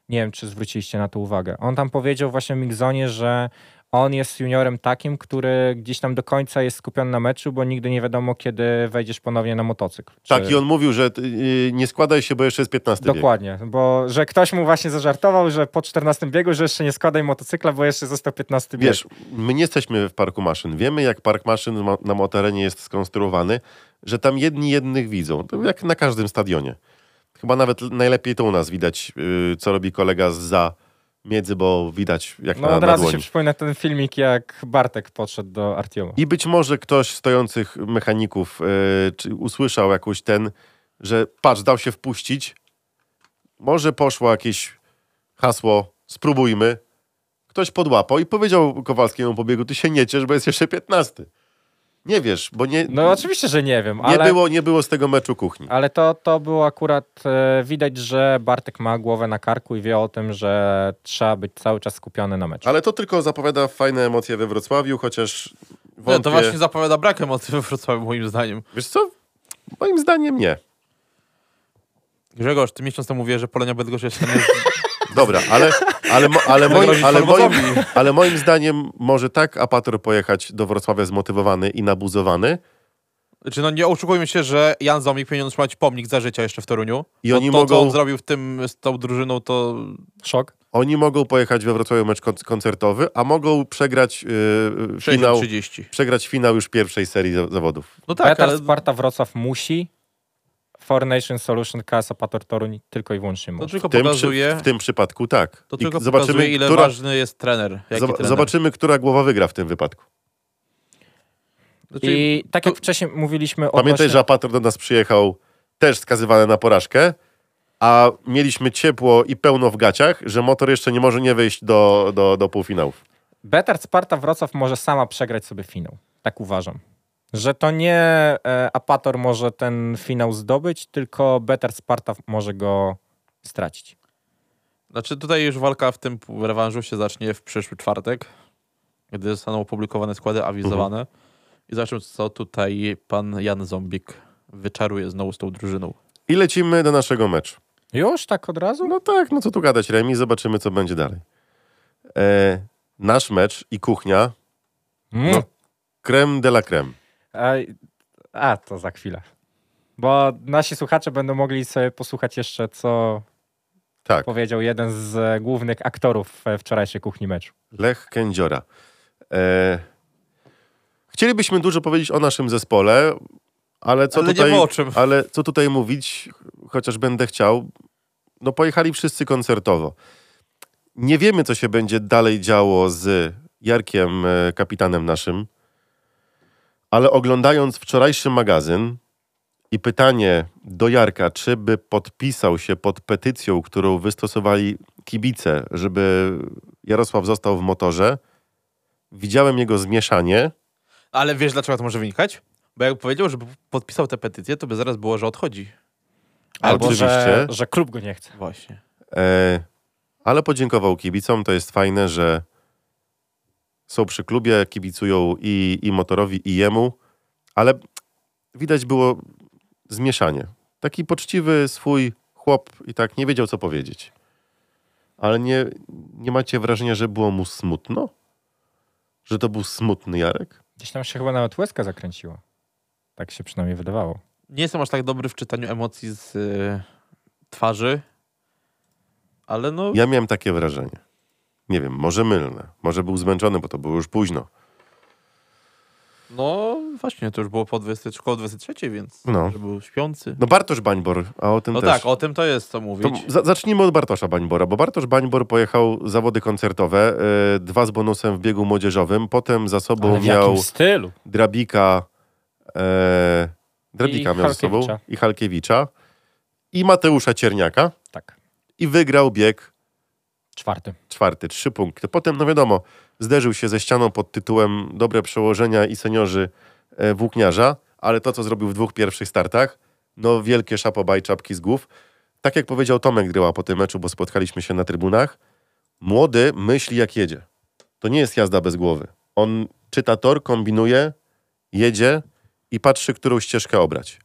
Speaker 4: Nie wiem, czy zwróciliście na to uwagę. On tam powiedział właśnie w Mixonie, że on jest juniorem takim, który gdzieś tam do końca jest skupiony na meczu, bo nigdy nie wiadomo, kiedy wejdziesz ponownie na motocykl. Czy-
Speaker 2: Tak, i on mówił, że yy, nie składaj się, bo jeszcze jest 15 bieg.
Speaker 4: Dokładnie, bo że ktoś mu właśnie zażartował, że po 14 biegu, że jeszcze nie składaj motocykla, bo jeszcze został 15 bieg.
Speaker 2: Wiesz, my nie jesteśmy w parku maszyn. Wiemy, jak park maszyn ma- na Motorenie jest skonstruowany, że tam jedni jednych widzą. To jak na każdym stadionie. Chyba nawet l- najlepiej to u nas widać, yy, co robi kolega za miedzy, bo widać jak
Speaker 4: no
Speaker 2: na,
Speaker 4: od
Speaker 2: na
Speaker 4: razu się
Speaker 2: dłoni.
Speaker 4: przypomina ten filmik, jak Bartek podszedł do Artioma.
Speaker 2: I być może ktoś z stojących mechaników yy, czy usłyszał jakoś ten, że patrz, dał się wpuścić. Może poszło jakieś hasło, spróbujmy. Ktoś podłapał i powiedział Kowalskiemu po biegu, ty się nie ciesz, bo jest jeszcze 15. Nie wiesz, bo nie,
Speaker 4: No oczywiście, że nie wiem,
Speaker 2: nie,
Speaker 4: ale,
Speaker 2: było, nie było z tego meczu kuchni.
Speaker 4: ale to, to było akurat e, widać, że Bartek ma głowę na karku i wie o tym, że trzeba być cały czas skupiony na meczu.
Speaker 2: Ale to tylko zapowiada fajne emocje we Wrocławiu, chociaż wątpię.
Speaker 3: No, to właśnie zapowiada brak emocji we Wrocławiu, moim zdaniem.
Speaker 2: Wiesz co? Moim zdaniem nie.
Speaker 3: Grzegorz, ty miesiąc temu mówiłeś, że Polonia Bydgoszcz jest...
Speaker 2: Dobra, ale, ale, mo- ale, moim,
Speaker 3: Zagrozić
Speaker 2: ale, moim,
Speaker 3: Formosowi.
Speaker 2: ale moim zdaniem może tak Apator pojechać do Wrocławia zmotywowany i nabuzowany
Speaker 3: Znaczy, no nie oszukujmy się, że Jan Zomik powinien otrzymać pomnik za życia jeszcze w Toruniu.
Speaker 2: I
Speaker 3: Bo
Speaker 2: oni
Speaker 3: to,
Speaker 2: mogą-
Speaker 3: co on zrobił w tym, z tą drużyną, to...
Speaker 4: Szok?
Speaker 2: Oni mogą pojechać we Wrocławiu mecz kon- koncertowy, a mogą przegrać, yy, finał,
Speaker 3: 30.
Speaker 2: przegrać finał już pierwszej serii za- zawodów.
Speaker 3: No
Speaker 4: Tak,
Speaker 3: tak, ale...
Speaker 4: Sparta Wrocław musi, Four Solution, Kasa, Pator Toruń tylko i wyłącznie
Speaker 3: No To
Speaker 4: może.
Speaker 3: tylko
Speaker 2: W tym, przy,
Speaker 3: pokazuje...
Speaker 2: w tym przypadku tak.
Speaker 3: To
Speaker 2: I
Speaker 3: tylko
Speaker 2: zobaczymy,
Speaker 3: pokazuje, ile
Speaker 2: która,
Speaker 3: ważny jest trener. Jaki
Speaker 2: zob-
Speaker 3: trener.
Speaker 2: zobaczymy, która głowa wygra w tym wypadku.
Speaker 3: Znaczy,
Speaker 4: I tak jak wcześniej mówiliśmy o
Speaker 2: Pamiętaj, że
Speaker 4: właśnie-
Speaker 2: Apator do nas przyjechał też skazywany na porażkę, a mieliśmy ciepło i pełno w gaciach, że motor jeszcze nie może nie wyjść do, do, do półfinałów.
Speaker 4: Betard Sparta Wrocław może sama przegrać sobie finał. Tak uważam. Że to nie e, Apator może ten finał zdobyć, tylko Betard Sparta może go stracić.
Speaker 3: znaczy tutaj już walka w tym rewanżu się zacznie w przyszły czwartek, gdy zostaną opublikowane składy awizowane.
Speaker 2: Mhm.
Speaker 3: I zobaczymy, co tutaj pan Jan Zombik wyczaruje znowu z tą drużyną.
Speaker 2: I lecimy do naszego meczu.
Speaker 4: Już tak od razu?
Speaker 2: No tak, no co tu gadać, Remi, zobaczymy, co będzie dalej. E, nasz mecz i kuchnia,
Speaker 4: Mm.
Speaker 2: No. creme de la creme.
Speaker 4: A, a, to za chwilę. Bo nasi słuchacze będą mogli sobie posłuchać jeszcze, co
Speaker 2: Tak,
Speaker 4: powiedział jeden z e, głównych aktorów e, wczorajszej kuchni meczu.
Speaker 2: Lech Kędziora. E, chcielibyśmy dużo powiedzieć o naszym zespole, ale co
Speaker 3: Ale nie
Speaker 2: tutaj...
Speaker 3: ma o czym.
Speaker 2: Ale co tutaj mówić, chociaż będę chciał, no pojechali wszyscy koncertowo. Nie wiemy, co się będzie dalej działo z Jarkiem, e, kapitanem naszym, ale oglądając wczorajszy magazyn i pytanie do Jarka, czy by podpisał się pod petycją, którą wystosowali kibice, żeby Jarosław został w motorze, widziałem jego zmieszanie.
Speaker 3: Ale wiesz, dlaczego to może wynikać? Bo jak powiedział, że podpisał tę petycję, to by zaraz było, że odchodzi.
Speaker 4: Albo że,
Speaker 2: Oczywiście.
Speaker 4: że klub go nie chce.
Speaker 3: Właśnie.
Speaker 2: E, ale podziękował kibicom. To jest fajne, że są przy klubie, kibicują i, i motorowi, i jemu. Ale widać było zmieszanie. Taki poczciwy swój chłop i tak nie wiedział, co powiedzieć. Ale nie, nie macie wrażenia, że było mu smutno? Że to był smutny Jarek?
Speaker 4: Gdzieś tam się chyba nawet łezka zakręciła. Tak się przynajmniej wydawało.
Speaker 3: Nie jestem aż tak dobry w czytaniu emocji z y, twarzy, ale no...
Speaker 2: Ja miałem takie wrażenie. Nie wiem, może mylne. Może był zmęczony, bo to było już późno.
Speaker 3: No właśnie, to już było po 20, około 23, więc
Speaker 2: No.
Speaker 3: że był śpiący.
Speaker 2: No Bartosz Bańbor, a o tym
Speaker 3: No
Speaker 2: też.
Speaker 3: tak, o tym to jest co
Speaker 2: To
Speaker 3: mówić.
Speaker 2: za, zacznijmy od Bartosza Bańbora, bo Bartosz Bańbor pojechał zawody koncertowe, y, dwa z bonusem w biegu młodzieżowym, potem za sobą
Speaker 4: Ale w
Speaker 2: miał
Speaker 4: jakim stylu?
Speaker 2: Drabika, e, Drabika
Speaker 4: I
Speaker 2: miał ze sobą
Speaker 4: Halkiewicza.
Speaker 2: i Halkiewicza i Mateusza Cierniaka
Speaker 4: Tak,
Speaker 2: i wygrał bieg
Speaker 4: czwarty.
Speaker 2: czwarty, trzy punkty. Potem, no wiadomo, zderzył się ze ścianą pod tytułem Dobre przełożenia i seniorzy e, włókniarza, ale to, co zrobił w dwóch pierwszych startach, no wielkie szapobaj, czapki z głów. Tak jak powiedział Tomek Gryła po tym meczu, bo spotkaliśmy się na trybunach, młody myśli jak jedzie. To nie jest jazda bez głowy. On czyta tor, kombinuje, jedzie i patrzy, którą ścieżkę obrać.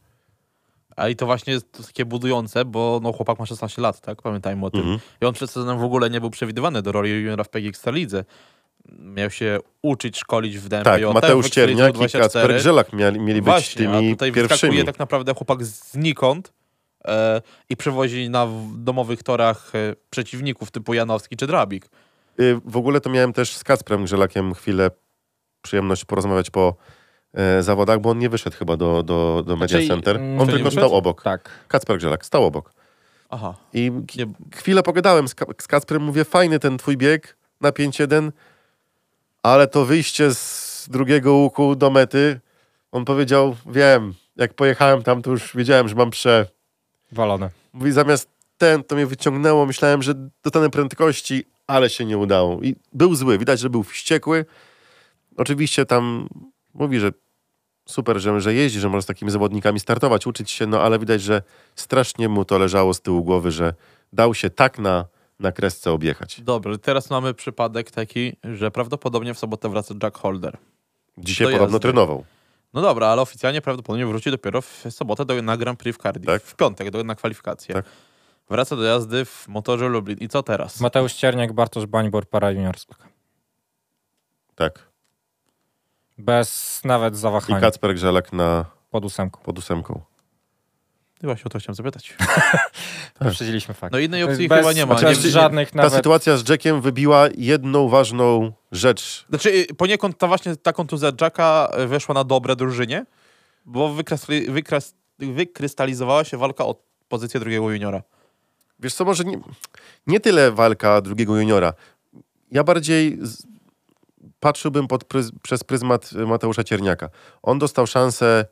Speaker 3: A i to właśnie jest to takie budujące, bo no, chłopak ma 16 lat, tak? Pamiętajmy o tym.
Speaker 2: Mhm.
Speaker 3: I on przed sezonem w ogóle nie był przewidywany do roli juniora w PGX Lidze. Miał się uczyć, szkolić w DMPJ.
Speaker 2: Tak, Mateusz
Speaker 3: w Ekstralidze
Speaker 2: Cierniak i
Speaker 3: 24.
Speaker 2: Kacper Grzelak mieli, mieli być
Speaker 3: Właśnie, a
Speaker 2: tymi
Speaker 3: tutaj
Speaker 2: pierwszymi.
Speaker 3: wyskakuje tak naprawdę chłopak znikąd e, i przewozi na w- domowych torach e, przeciwników typu Janowski czy Drabik.
Speaker 2: Y, W ogóle to miałem też z Kacprem Grzelakiem chwilę przyjemność porozmawiać po e, zawodach, bo on nie wyszedł chyba do, do, do Media
Speaker 4: Znaczy,
Speaker 2: Center.
Speaker 4: mm,
Speaker 2: On
Speaker 3: y, to nie
Speaker 2: tylko
Speaker 3: wyszedł?
Speaker 2: stał obok.
Speaker 4: Tak.
Speaker 2: Kacper Grzelak stał obok.
Speaker 3: Aha.
Speaker 2: I
Speaker 3: Nie,
Speaker 2: k- chwilę pogadałem z, Ka- z Kacprem, mówię, fajny ten twój bieg na 5-1, ale to wyjście z drugiego łuku do mety, on powiedział, wiem, jak pojechałem tam, to już wiedziałem, że mam prze...
Speaker 4: Walone.
Speaker 2: Mówi, zamiast ten, to mnie wyciągnęło, myślałem, że dostanę prędkości, ale się nie udało. I był zły, widać, że był wściekły. Oczywiście tam mówi, że super, że, że jeździ, że może z takimi zawodnikami startować, uczyć się, no ale widać, że strasznie mu to leżało z tyłu głowy, że dał się tak na, na kresce objechać.
Speaker 3: Dobrze, teraz mamy przypadek taki, że prawdopodobnie w sobotę wraca Jack Holder.
Speaker 2: Dzisiaj
Speaker 3: Do
Speaker 2: podobno
Speaker 3: jazdy.
Speaker 2: trenował.
Speaker 3: No dobra, ale oficjalnie prawdopodobnie wróci dopiero w sobotę do, na Grand Prix w Cardiff.
Speaker 2: Tak.
Speaker 3: W piątek do, na kwalifikacje.
Speaker 2: Tak.
Speaker 3: Wraca do jazdy w motorze Lublin. I co teraz?
Speaker 4: Mateusz Cierniak, Bartosz Bańbor, para juniorska.
Speaker 2: Tak.
Speaker 4: Bez nawet
Speaker 2: I
Speaker 4: zawahania
Speaker 2: Kacper Grzelak na
Speaker 4: pod ósemką.
Speaker 2: pod ósemką.
Speaker 3: I właśnie o to chciałem zapytać.
Speaker 4: Wyprzedziliśmy fakt.
Speaker 3: No innej
Speaker 4: To
Speaker 3: opcji
Speaker 4: bez-
Speaker 3: chyba nie ma. Nie,
Speaker 4: Chociaż
Speaker 2: Znaczy,
Speaker 4: żadnych
Speaker 2: Tak. Ta
Speaker 4: nawet...
Speaker 2: sytuacja z Jackiem wybiła jedną ważną rzecz
Speaker 3: Znaczy, y, poniekąd ta właśnie ta kontuzja Jacka y, weszła na dobre drużynie, bo wykresli, wykres, wykrystalizowała się walka o pozycję drugiego juniora.
Speaker 2: Wiesz co, może nie, nie tyle walka drugiego juniora. Ja bardziej z, patrzyłbym pod pryz- przez pryzmat y, Mateusza Cierniaka. On dostał szansę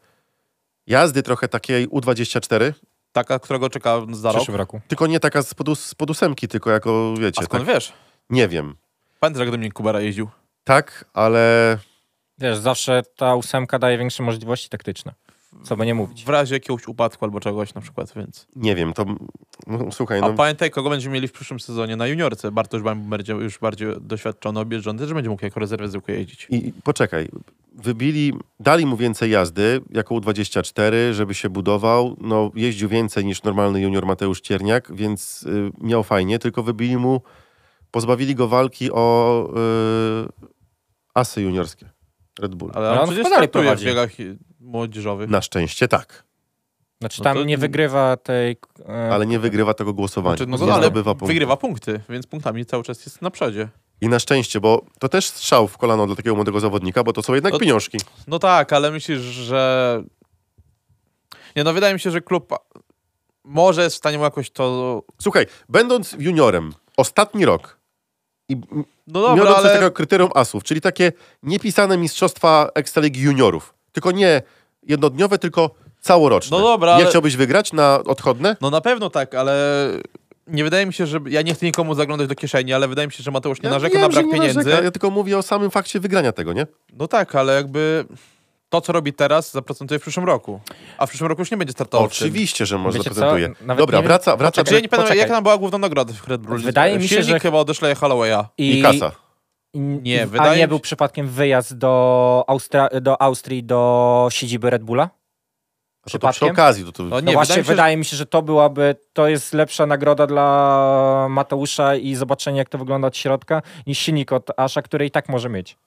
Speaker 2: jazdy trochę takiej U24,
Speaker 3: Taka, którego czeka za
Speaker 4: w
Speaker 3: rok.
Speaker 4: przyszłym roku.
Speaker 2: tylko nie taka spod, ós- spod ósemki, tylko jako, wiecie,
Speaker 3: A skąd
Speaker 2: tak,
Speaker 3: wiesz?
Speaker 2: nie wiem.
Speaker 3: Pamiętasz, jak Dominik Kubera jeździł?
Speaker 2: Tak, ale
Speaker 4: Wiesz, zawsze ta ósemka daje większe możliwości taktyczne. Co by nie mówić.
Speaker 3: W razie jakiegoś upadku albo czegoś na przykład, więc...
Speaker 2: nie wiem, to no, słuchaj,
Speaker 3: A
Speaker 2: no,
Speaker 3: pamiętaj, kogo będziemy mieli w przyszłym sezonie na juniorce. Bartosz Bań będzie już bardziej doświadczony, objeżdżony, też będzie mógł jako rezerwę zwykle jeździć.
Speaker 2: i, i poczekaj, wybili, dali mu więcej jazdy jako U24, żeby się budował, no jeździł więcej niż normalny junior Mateusz Cierniak, więc y, miał fajnie, tylko wybili mu, pozbawili go walki o y, asy juniorskie Red Bull.
Speaker 3: Ale
Speaker 4: Ale
Speaker 3: on
Speaker 4: on
Speaker 3: przecież
Speaker 4: chyba dalej
Speaker 3: startuje w
Speaker 4: prowadzi.
Speaker 3: biegach y, młodzieżowych.
Speaker 2: Na szczęście tak,
Speaker 4: Znaczy
Speaker 3: No
Speaker 4: tam
Speaker 3: to-
Speaker 4: nie wygrywa tej... E,
Speaker 2: ale nie wygrywa tego głosowania.
Speaker 3: Znaczy, no
Speaker 2: nie
Speaker 3: to, ale
Speaker 2: zdobywa punktów.
Speaker 3: wygrywa punkty, więc punktami cały czas jest na przodzie.
Speaker 2: I na szczęście, bo to też strzał w kolano dla takiego młodego zawodnika, bo to są jednak
Speaker 3: No-
Speaker 2: pieniążki.
Speaker 3: No tak, ale myślisz, że... Nie no, wydaje mi się, że klub może jest w stanie mu jakoś to...
Speaker 2: Słuchaj, będąc juniorem, ostatni rok i m-
Speaker 3: No dobra,
Speaker 2: miodąc ale...
Speaker 3: ale...
Speaker 2: tego kryterium asów, czyli takie niepisane mistrzostwa Ekstraligi juniorów, tylko nie jednodniowe, tylko całoroczne.
Speaker 3: No dobra,
Speaker 2: Nie
Speaker 3: ale-
Speaker 2: chciałbyś wygrać na odchodne?
Speaker 3: No na pewno tak, ale nie wydaje mi się, że. Ja nie chcę nikomu zaglądać do kieszeni, ale wydaje mi się, że Mateusz nie narzeka
Speaker 2: wiem,
Speaker 3: na brak
Speaker 2: że nie
Speaker 3: pieniędzy.
Speaker 2: narzeka, Ja tylko mówię o samym fakcie wygrania tego, nie?
Speaker 3: No tak, ale jakby to, co robi teraz, zaprocentuje w przyszłym roku. A w przyszłym roku już nie będzie startował. w tym.
Speaker 2: Oczywiście, że może
Speaker 4: Wiecie co?
Speaker 2: zaprezentuje.
Speaker 4: Nawet
Speaker 2: Dobra,
Speaker 4: nie-
Speaker 2: wraca, wraca
Speaker 3: Znaczy, ja nie pamiętam,
Speaker 4: Poczekaj.
Speaker 3: jaka tam była główna nagroda w Red Bull.
Speaker 4: Wydaje mi się,
Speaker 3: Silnik
Speaker 4: że-
Speaker 3: chyba odeszle Hollowaya. No
Speaker 2: i kasa.
Speaker 4: i-
Speaker 3: Nie,
Speaker 4: i-
Speaker 3: wydaje
Speaker 4: A
Speaker 3: mi się-
Speaker 4: nie był przypadkiem wyjazd do, Austra- do Austrii, do siedziby Red Bulla?
Speaker 2: A To, to przy
Speaker 4: przypadkiem?
Speaker 2: okazji, to, to...
Speaker 3: No nie,
Speaker 4: No właśnie,
Speaker 3: wydaje mi się,
Speaker 4: wydaje mi się, że to byłaby, to jest lepsza nagroda dla Mateusza i zobaczenie, jak to wygląda od środka, niż silnik od Asza, który i tak może mieć.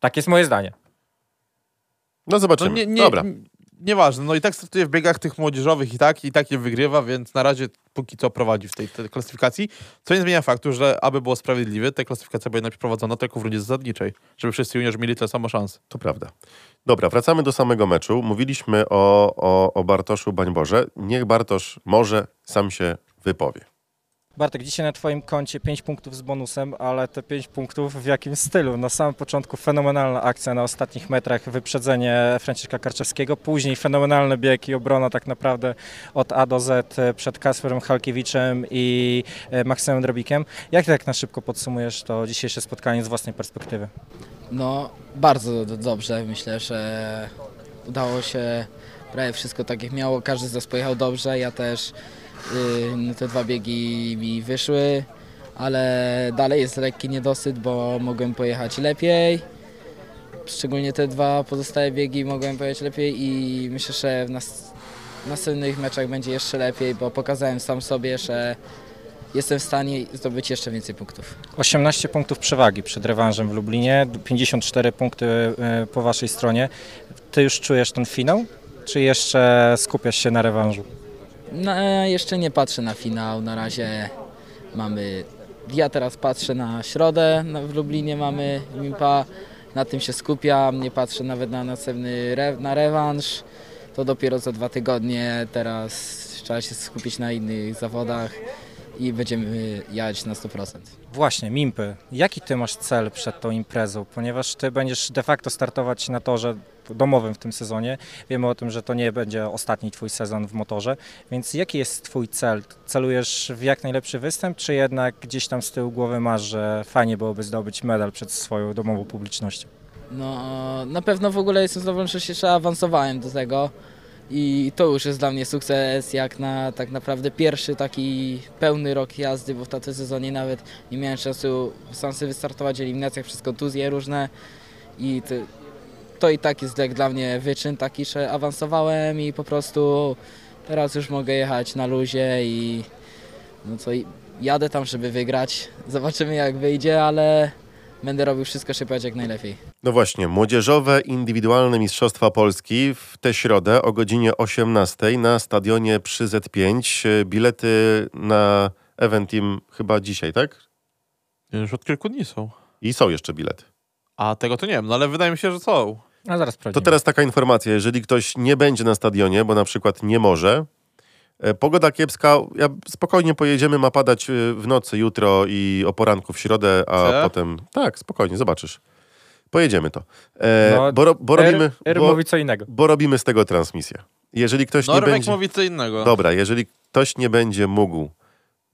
Speaker 4: Tak jest moje zdanie.
Speaker 2: no
Speaker 3: że...
Speaker 2: zobaczymy.
Speaker 3: no, nie, nie,
Speaker 2: Dobra.
Speaker 3: Nieważne, no i tak startuje w biegach tych młodzieżowych i tak, i tak je wygrywa, więc na razie póki co prowadzi w tej, tej klasyfikacji. Co nie zmienia faktu, że aby było sprawiedliwe, ta klasyfikacja była najpierw prowadzona tylko w rundzie zasadniczej, żeby wszyscy juniorzy mieli tyle samo szans.
Speaker 2: To prawda. Dobra, wracamy do samego meczu. Mówiliśmy o, o, o Bartoszu Bańborze. Niech Bartosz może sam się wypowie.
Speaker 5: Bartek, dzisiaj na Twoim koncie 5 punktów z bonusem, ale te 5 punktów w jakim stylu? Na samym początku fenomenalna akcja na ostatnich metrach, wyprzedzenie Franciszka Karczewskiego, później fenomenalny bieg i obrona tak naprawdę od A do Z przed Kasperem Halkiewiczem i e, Maksymem Drobikiem. Jak tak na szybko podsumujesz to dzisiejsze spotkanie z własnej perspektywy?
Speaker 6: No, bardzo d- dobrze. Myślę, że udało się prawie wszystko tak jak miało. Każdy z nas pojechał dobrze. Ja też. Yy, no te dwa biegi mi wyszły, ale dalej jest lekki niedosyt, bo mogłem pojechać lepiej. Szczególnie te dwa pozostałe biegi mogłem pojechać lepiej i myślę, że w nas następnych meczach będzie jeszcze lepiej, bo pokazałem sam sobie, że jestem w stanie zdobyć jeszcze więcej punktów.
Speaker 5: 18 punktów przewagi przed rewanżem w Lublinie, 54 punkty e, po Waszej stronie. Ty już czujesz ten finał? Czy jeszcze skupiasz się na rewanżu?
Speaker 6: No, e, jeszcze nie patrzę na finał. Na razie mamy. Ja teraz patrzę na środę. No, w Lublinie mamy Mimpa. Na tym się skupiam. Nie patrzę nawet na następny re, na rewanż. To dopiero za dwa tygodnie. Teraz trzeba się skupić na innych zawodach i będziemy jechać na 100%.
Speaker 5: Właśnie, Mimpy, jaki ty masz cel przed tą imprezą? Ponieważ ty będziesz de facto startować na torze domowym w tym sezonie. Wiemy o tym, że to nie będzie ostatni twój sezon w motorze, więc jaki jest twój cel? Celujesz w jak najlepszy występ, czy jednak gdzieś tam z tyłu głowy masz, że fajnie byłoby zdobyć medal przed swoją domową publicznością?
Speaker 6: No, na pewno w ogóle jestem zadowolony, że się jeszcze awansowałem do tego. I to już jest dla mnie sukces, jak na tak naprawdę pierwszy taki pełny rok jazdy, bo w takim sezonie nawet nie miałem czasu sam sobie wystartować w eliminacjach przez kontuzje różne. I to, to i tak jest jak dla mnie wyczyn taki, że awansowałem i po prostu teraz już mogę jechać na luzie i no co, i jadę tam, żeby wygrać. Zobaczymy jak wyjdzie, ale będę robił wszystko, żeby pojechać jak najlepiej.
Speaker 2: No właśnie, Młodzieżowe Indywidualne Mistrzostwa Polski w tę środę o godzinie 18 na stadionie przy Z5. E, Bilety na Event Team chyba dzisiaj, tak?
Speaker 3: Już od kilku dni są.
Speaker 2: I są jeszcze bilety.
Speaker 3: A tego to nie wiem, no ale wydaje mi się, że są.
Speaker 4: A No, zaraz
Speaker 2: To
Speaker 4: sprawdzimy.
Speaker 2: teraz taka informacja, jeżeli ktoś nie będzie na stadionie, bo na przykład nie może, e, pogoda kiepska, ja spokojnie pojedziemy, ma padać e, w nocy jutro i o poranku w środę, a
Speaker 3: Co?
Speaker 2: potem... Tak, spokojnie, zobaczysz. Pojedziemy to. E,
Speaker 4: No,
Speaker 2: bo, ro, bo, robimy,
Speaker 4: R, R
Speaker 2: bo,
Speaker 4: mówi co innego.
Speaker 2: bo robimy z tego transmisję. Jeżeli ktoś nie
Speaker 3: Norwek
Speaker 2: będzie...
Speaker 3: No, mówi co innego.
Speaker 2: Dobra, jeżeli ktoś nie będzie mógł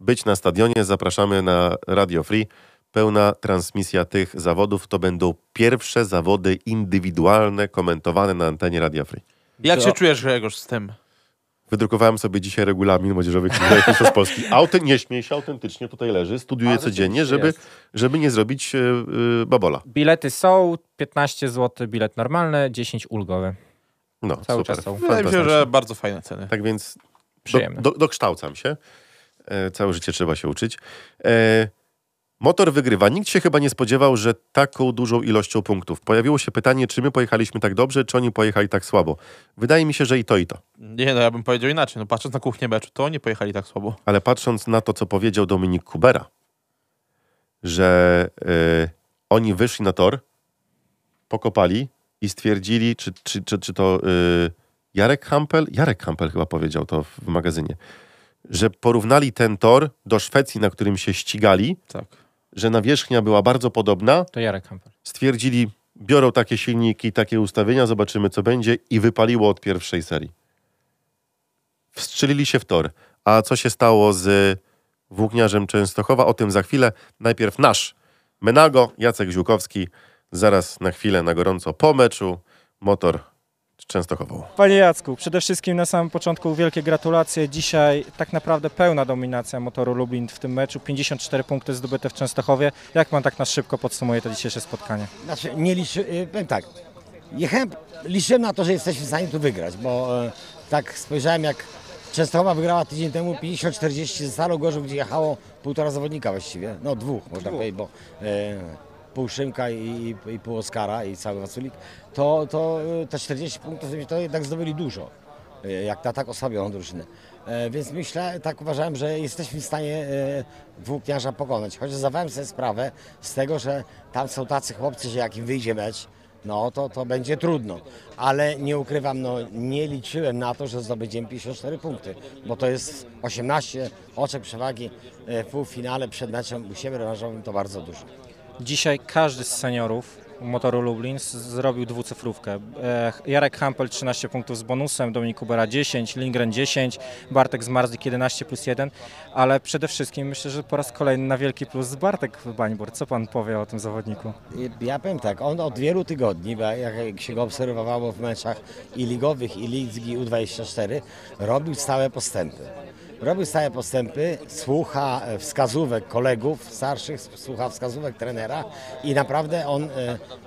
Speaker 2: być na stadionie, zapraszamy na Radio Free. Pełna transmisja tych zawodów to będą pierwsze zawody indywidualne komentowane na antenie Radio Free.
Speaker 3: Jak
Speaker 4: Do-
Speaker 3: się czujesz, Grzegorz, z tym?
Speaker 2: Wydrukowałem sobie dzisiaj regulamin młodzieżowych klubów mistrzostw Polski. Auty, nie śmiej się, autentycznie tutaj leży, studiuję
Speaker 4: A,
Speaker 2: codziennie,
Speaker 4: rzeczywiście
Speaker 2: żeby,
Speaker 4: jest.
Speaker 2: żeby nie zrobić e, e, babola.
Speaker 4: Bilety są, 15 zł bilet normalny, 10 ulgowy.
Speaker 2: No,
Speaker 4: Cały
Speaker 2: super.
Speaker 4: czas są.
Speaker 3: Wydaje mi się,
Speaker 2: Fantastycznie.
Speaker 3: że bardzo fajne ceny.
Speaker 2: Tak więc do,
Speaker 4: Przyjemne.
Speaker 2: do, dokształcam się. E, całe życie trzeba się uczyć. E, motor wygrywa. Nikt się chyba nie spodziewał, że taką dużą ilością punktów. Pojawiło się pytanie, czy my pojechaliśmy tak dobrze, czy oni pojechali tak słabo. Wydaje mi się, że i to, i to.
Speaker 3: Nie, no ja bym powiedział inaczej. No patrząc na kuchnię meczu, to oni pojechali tak słabo.
Speaker 2: Ale patrząc na to, co powiedział Dominik Kubera, że e, oni wyszli na tor, pokopali i stwierdzili, czy, czy, czy, czy to e, Jarek Hampel, Jarek Hampel chyba powiedział to w magazynie, że porównali ten tor do Szwecji, na którym się ścigali,
Speaker 3: Tak.
Speaker 2: że nawierzchnia była bardzo podobna,
Speaker 4: To Jarek Hampel.
Speaker 2: stwierdzili, biorą takie silniki, takie ustawienia, zobaczymy co będzie i wypaliło od pierwszej serii. Wstrzelili się w tor. A co się stało z włókniarzem Częstochowa? O tym za chwilę. Najpierw nasz Menago, Jacek Ziółkowski. Zaraz na chwilę, na gorąco, po meczu motor z Częstochową.
Speaker 5: Panie Jacku, przede wszystkim na samym początku wielkie gratulacje. Dzisiaj tak naprawdę pełna dominacja motoru Lublin w tym meczu. 54 punkty zdobyte w Częstochowie. Jak pan tak na szybko podsumuje to dzisiejsze spotkanie?
Speaker 7: Znaczy, nie liczy, y, powiem tak, jechałem, liczyłem na to, że jesteśmy w stanie tu wygrać, bo e, tak spojrzałem jak Częstochowa wygrała tydzień temu 50-40 ze Starą Gorzów, gdzie jechało półtora zawodnika właściwie, no dwóch można powiedzieć, bo e, pół Szymka i, i, i pół Oskara i cały Wasulik, to, to e, te 40 punktów to jednak zdobyli dużo, e, jak na tak osłabioną drużynę. E, Więc myślę, tak uważałem, że jesteśmy w stanie e, włókniarza pokonać. Chociaż zdawałem sobie sprawę z tego, że tam są tacy chłopcy, że jak im wyjdzie mecz, no to, to będzie trudno. Ale nie ukrywam, no nie liczyłem na to, że zdobędziemy 54 punkty, bo to jest 18 oczek przewagi e, w półfinale przed meczem u siebie rewanżowym, to bardzo dużo.
Speaker 5: Dzisiaj każdy z seniorów motoru Lublin z- zrobił dwucyfrówkę. E, Jarek Hampel 13 punktów z bonusem, Dominik Kubera 10, Lindgren 10, Bartek Zmarzik 11 plus 1, ale przede wszystkim myślę, że po raz kolejny na wielki plus Bartek Bańbur. Co pan powie o tym zawodniku?
Speaker 7: Ja powiem tak, on od wielu tygodni, bo jak się go obserwowało w meczach i ligowych, i Ligi U24, robił stałe postępy. Robił stałe postępy, słucha e, wskazówek kolegów starszych, słucha wskazówek trenera i naprawdę on e,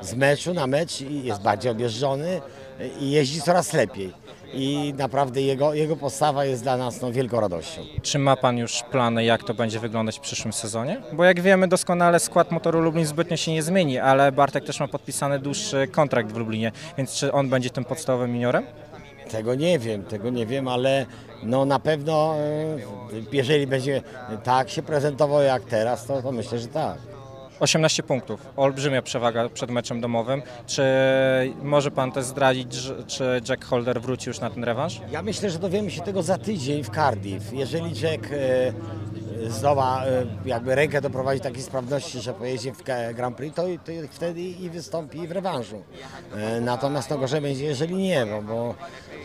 Speaker 7: z meczu na mecz i jest bardziej objeżdżony e, i jeździ coraz lepiej. I naprawdę jego, jego postawa jest dla nas no, wielką radością.
Speaker 5: Czy ma pan już plany, jak to będzie wyglądać w przyszłym sezonie? Bo jak wiemy doskonale, skład motoru Lublin zbytnio się nie zmieni, ale Bartek też ma podpisany dłuższy kontrakt w Lublinie, więc czy on będzie tym podstawowym juniorem?
Speaker 7: Tego nie wiem, tego nie wiem, ale no na pewno e, jeżeli będzie tak się prezentował jak teraz, to, to myślę, że tak.
Speaker 5: 18 punktów, olbrzymia przewaga przed meczem domowym. Czy może pan też zdradzić, że- czy Jack Holder wróci już na ten rewanż?
Speaker 7: Ja myślę, że dowiemy się tego za tydzień w Cardiff. Jeżeli Jack e, zdoła e, jakby rękę doprowadzić do takiej sprawności, że pojedzie w Ke- Grand Prix, to, to wtedy i wystąpi w rewanżu. E, natomiast no gorzej będzie, jeżeli nie, bo, bo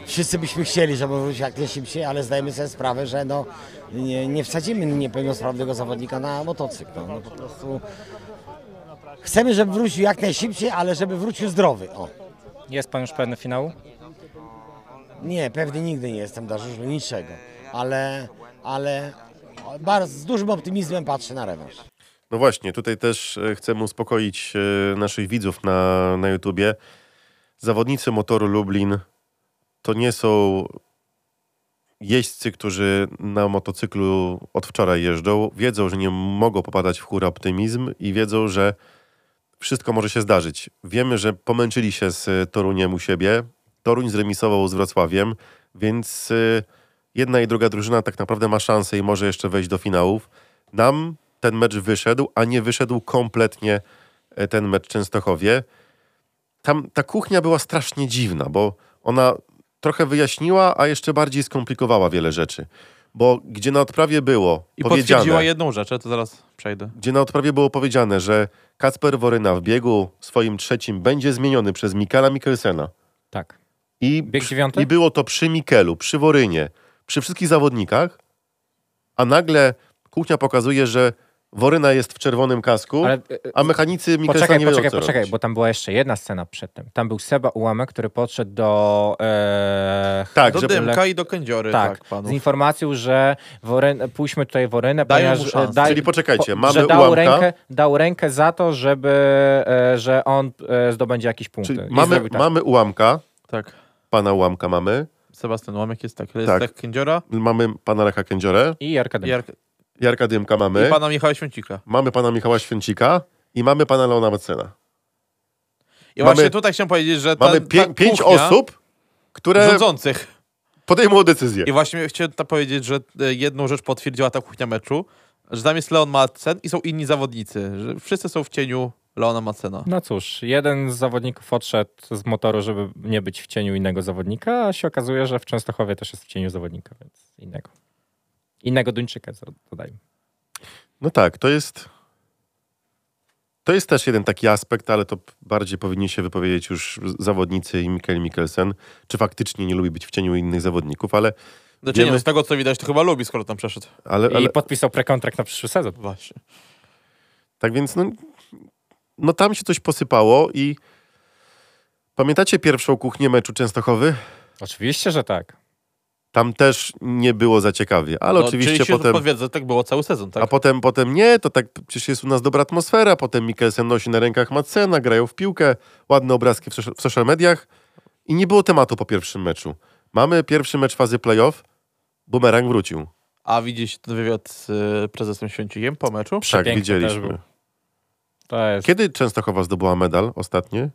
Speaker 7: wszyscy byśmy chcieli, żeby wrócił jak najszybciej, ale zdajemy sobie sprawę, że no, nie, nie wsadzimy niepełnosprawnego zawodnika na motocykl. No, no po prostu chcemy, żeby wrócił jak najszybciej, ale żeby wrócił zdrowy. O.
Speaker 5: Jest pan już pewny finału?
Speaker 7: Nie, pewnie nigdy nie jestem dla żużlu niczego, ale, ale bardzo, z dużym optymizmem patrzę na rewanż.
Speaker 2: No właśnie, tutaj też e, chcemy uspokoić e, naszych widzów na, na YouTubie. Zawodnicy motoru Lublin to nie są jeźdźcy, którzy na motocyklu od wczoraj jeżdżą. Wiedzą, że nie mogą popadać w chór optymizm i wiedzą, że wszystko może się zdarzyć. Wiemy, że pomęczyli się z e, Toruniem u siebie. Toruń zremisował z Wrocławiem, więc e, jedna i druga drużyna tak naprawdę ma szansę i może jeszcze wejść do finałów. Nam ten mecz wyszedł, a nie wyszedł kompletnie e, ten mecz Częstochowie. Tam ta kuchnia była strasznie dziwna, bo ona trochę wyjaśniła, a jeszcze bardziej skomplikowała wiele rzeczy. Bo gdzie na odprawie było
Speaker 3: I
Speaker 2: powiedziane...
Speaker 3: potwierdziła jedną rzecz, ale to zaraz przejdę.
Speaker 2: gdzie na odprawie było powiedziane, że Kacper Woryna w biegu swoim trzecim będzie zmieniony przez Mikala Mikkelsena.
Speaker 4: Tak.
Speaker 2: I,
Speaker 4: Bieg
Speaker 2: przy-
Speaker 4: dziewiąty?
Speaker 2: I było to przy Mikelu, przy Worynie, przy wszystkich zawodnikach, a nagle kuchnia pokazuje, że Woryna jest w czerwonym kasku,
Speaker 4: Ale e,
Speaker 2: a mechanicy Mikkelsena
Speaker 4: Poczekaj,
Speaker 2: nie wiedzą,
Speaker 4: poczekaj,
Speaker 2: co
Speaker 4: poczekaj,
Speaker 2: robić.
Speaker 4: bo tam była jeszcze jedna scena przedtem. Tam był Seba Ułamek, który podszedł do... E,
Speaker 2: Tak,
Speaker 3: do
Speaker 2: że
Speaker 3: Dymka i do Kędziory, tak,
Speaker 4: tak,
Speaker 3: tak panu.
Speaker 4: z informacją, że Woryn, pójdźmy tutaj Worynę,
Speaker 3: Dają mu
Speaker 4: ponieważ... e,
Speaker 3: szansę.
Speaker 2: Czyli poczekajcie, mamy
Speaker 4: że dał
Speaker 2: ułamka.
Speaker 4: rękę, dał rękę za to, żeby, e, że on e, zdobędzie jakieś punkty.
Speaker 2: Czyli
Speaker 4: I
Speaker 2: mamy,
Speaker 4: zrobił tak.
Speaker 2: mamy ułamka,
Speaker 3: Tak.
Speaker 2: pana ułamka mamy,
Speaker 3: Sebastian Łamek jest tak. Jest
Speaker 2: Tak.
Speaker 3: tak. Kędziora
Speaker 2: mamy pana Lecha Kędziorę,
Speaker 4: I Jarka
Speaker 3: i,
Speaker 4: Dymka.
Speaker 3: Jark-
Speaker 2: Jarka Dymka mamy,
Speaker 3: i pana Michała Świącika.
Speaker 2: mamy pana Michała Święcika i mamy pana Leona Macena.
Speaker 3: I
Speaker 2: Mamy-
Speaker 3: właśnie tutaj chciałem powiedzieć, że ta,
Speaker 2: Mamy pię-
Speaker 3: ta
Speaker 2: pięć
Speaker 3: kuchnia
Speaker 2: osób, które
Speaker 3: rządzących.
Speaker 2: podejmą decyzję.
Speaker 3: I właśnie chciałem ta powiedzieć, że e, jedną rzecz potwierdziła ta kuchnia meczu, że tam jest Leon Madsen i są inni zawodnicy, że wszyscy są w cieniu Leona Madsena.
Speaker 4: No cóż, jeden z zawodników odszedł z motoru, żeby nie być w cieniu innego zawodnika, a się okazuje, że w Częstochowie też jest w cieniu zawodnika, więc innego. Innego Duńczyka, za- dodajmy.
Speaker 2: No tak, to jest. To jest też jeden taki aspekt, ale to p- bardziej powinni się wypowiedzieć już z- zawodnicy i Mikkel Mikkelsen, czy faktycznie nie lubi być w cieniu innych zawodników, ale,
Speaker 3: Znaczy nie,
Speaker 2: Wiemy-
Speaker 3: no z tego co widać, to chyba lubi, skoro tam przeszedł.
Speaker 2: ale, ale
Speaker 4: I podpisał prekontrakt na przyszły sezon.
Speaker 3: Właśnie.
Speaker 2: tak więc no, no tam się coś posypało i pamiętacie pierwszą kuchnię meczu Częstochowy?
Speaker 4: Oczywiście, że tak.
Speaker 2: Tam też nie było za ciekawie, ale
Speaker 3: No,
Speaker 2: oczywiście
Speaker 3: czyli się
Speaker 2: potem...
Speaker 3: podwiedza, tak było cały sezon, tak?
Speaker 2: A potem, potem nie, to tak przecież jest u nas dobra atmosfera, potem Mikkelsen nosi na rękach Madsena, grają w piłkę, ładne obrazki w, sosz- w social mediach i nie było tematu po pierwszym meczu. Mamy pierwszy mecz fazy playoff, bumerang wrócił. Tak,
Speaker 3: A widzieliście ten wywiad z y, prezesem Święcikiem po meczu?
Speaker 2: tak,
Speaker 4: Przepiękny też
Speaker 2: widzieliśmy.
Speaker 4: był. To jest...
Speaker 2: Kiedy Częstochowa zdobyła medal ostatnio?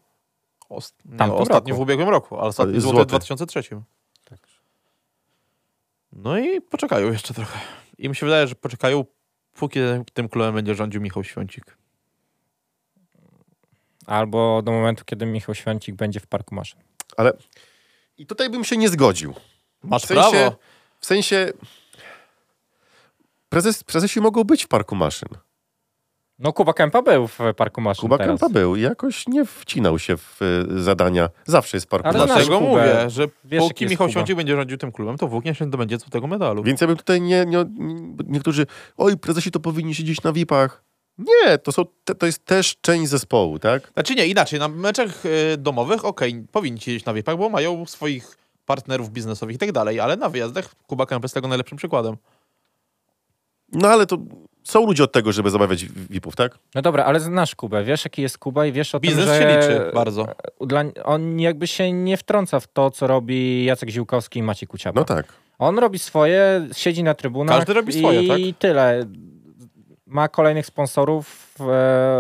Speaker 3: Ost- nie, ostatnio
Speaker 4: Tamtym roku. Tak.
Speaker 3: w ubiegłym roku, ale ostatni
Speaker 2: Ale
Speaker 3: złoty,
Speaker 2: złoty.
Speaker 3: w 2003. No i poczekają jeszcze trochę. I mi się wydaje, że poczekają, póki tym klubem będzie rządził Michał Świącik.
Speaker 4: Albo do momentu, kiedy Michał Święcik będzie w Parku Maszyn.
Speaker 2: I tutaj bym się nie zgodził.
Speaker 3: Masz
Speaker 2: W sensie-
Speaker 3: prawo.
Speaker 2: W sensie prezes, prezesi mogą być w parku maszyn.
Speaker 4: No Kuba Kępa był w Parku Maszyn
Speaker 2: Kuba
Speaker 4: teraz.
Speaker 2: Kępa był i jakoś nie wcinał się w y, zadania. Zawsze jest parku
Speaker 4: Ale
Speaker 2: maszyn.
Speaker 4: znasz
Speaker 3: Dlatego
Speaker 4: Kubę.
Speaker 3: mówię, że
Speaker 4: Wiesz, jaki
Speaker 3: póki
Speaker 4: jest
Speaker 3: Michał
Speaker 4: Kuba.
Speaker 3: Świącik będzie rządził tym klubem, to włóknie się dobędzie złotego medalu.
Speaker 2: Więc ja bym tutaj nie, nie, niektórzy, oj, prezesi to powinni siedzieć na VIP-ach. Nie, to, są, te, to jest też część zespołu, tak?
Speaker 3: Znaczy nie, inaczej, na meczach y, domowych, okej, powinni siedzieć na wiepach, bo mają swoich partnerów biznesowych i tak dalej, ale na wyjazdach Kuba Kępa jest tego najlepszym przykładem.
Speaker 2: No ale to są ludzie od tego, żeby zabawiać VIP-ów, tak?
Speaker 4: No dobra, ale znasz Kubę, wiesz jaki jest Kuba i wiesz o
Speaker 3: Biznes
Speaker 4: tym, że...
Speaker 3: się liczy bardzo.
Speaker 4: Dla, on jakby się nie wtrąca w to, co robi Jacek Ziłkowski i Maciej Kuciaba.
Speaker 2: No tak.
Speaker 4: On robi swoje, siedzi na trybunach
Speaker 3: Każdy robi swoje,
Speaker 4: i
Speaker 3: tak?
Speaker 4: tyle. Ma kolejnych sponsorów, e,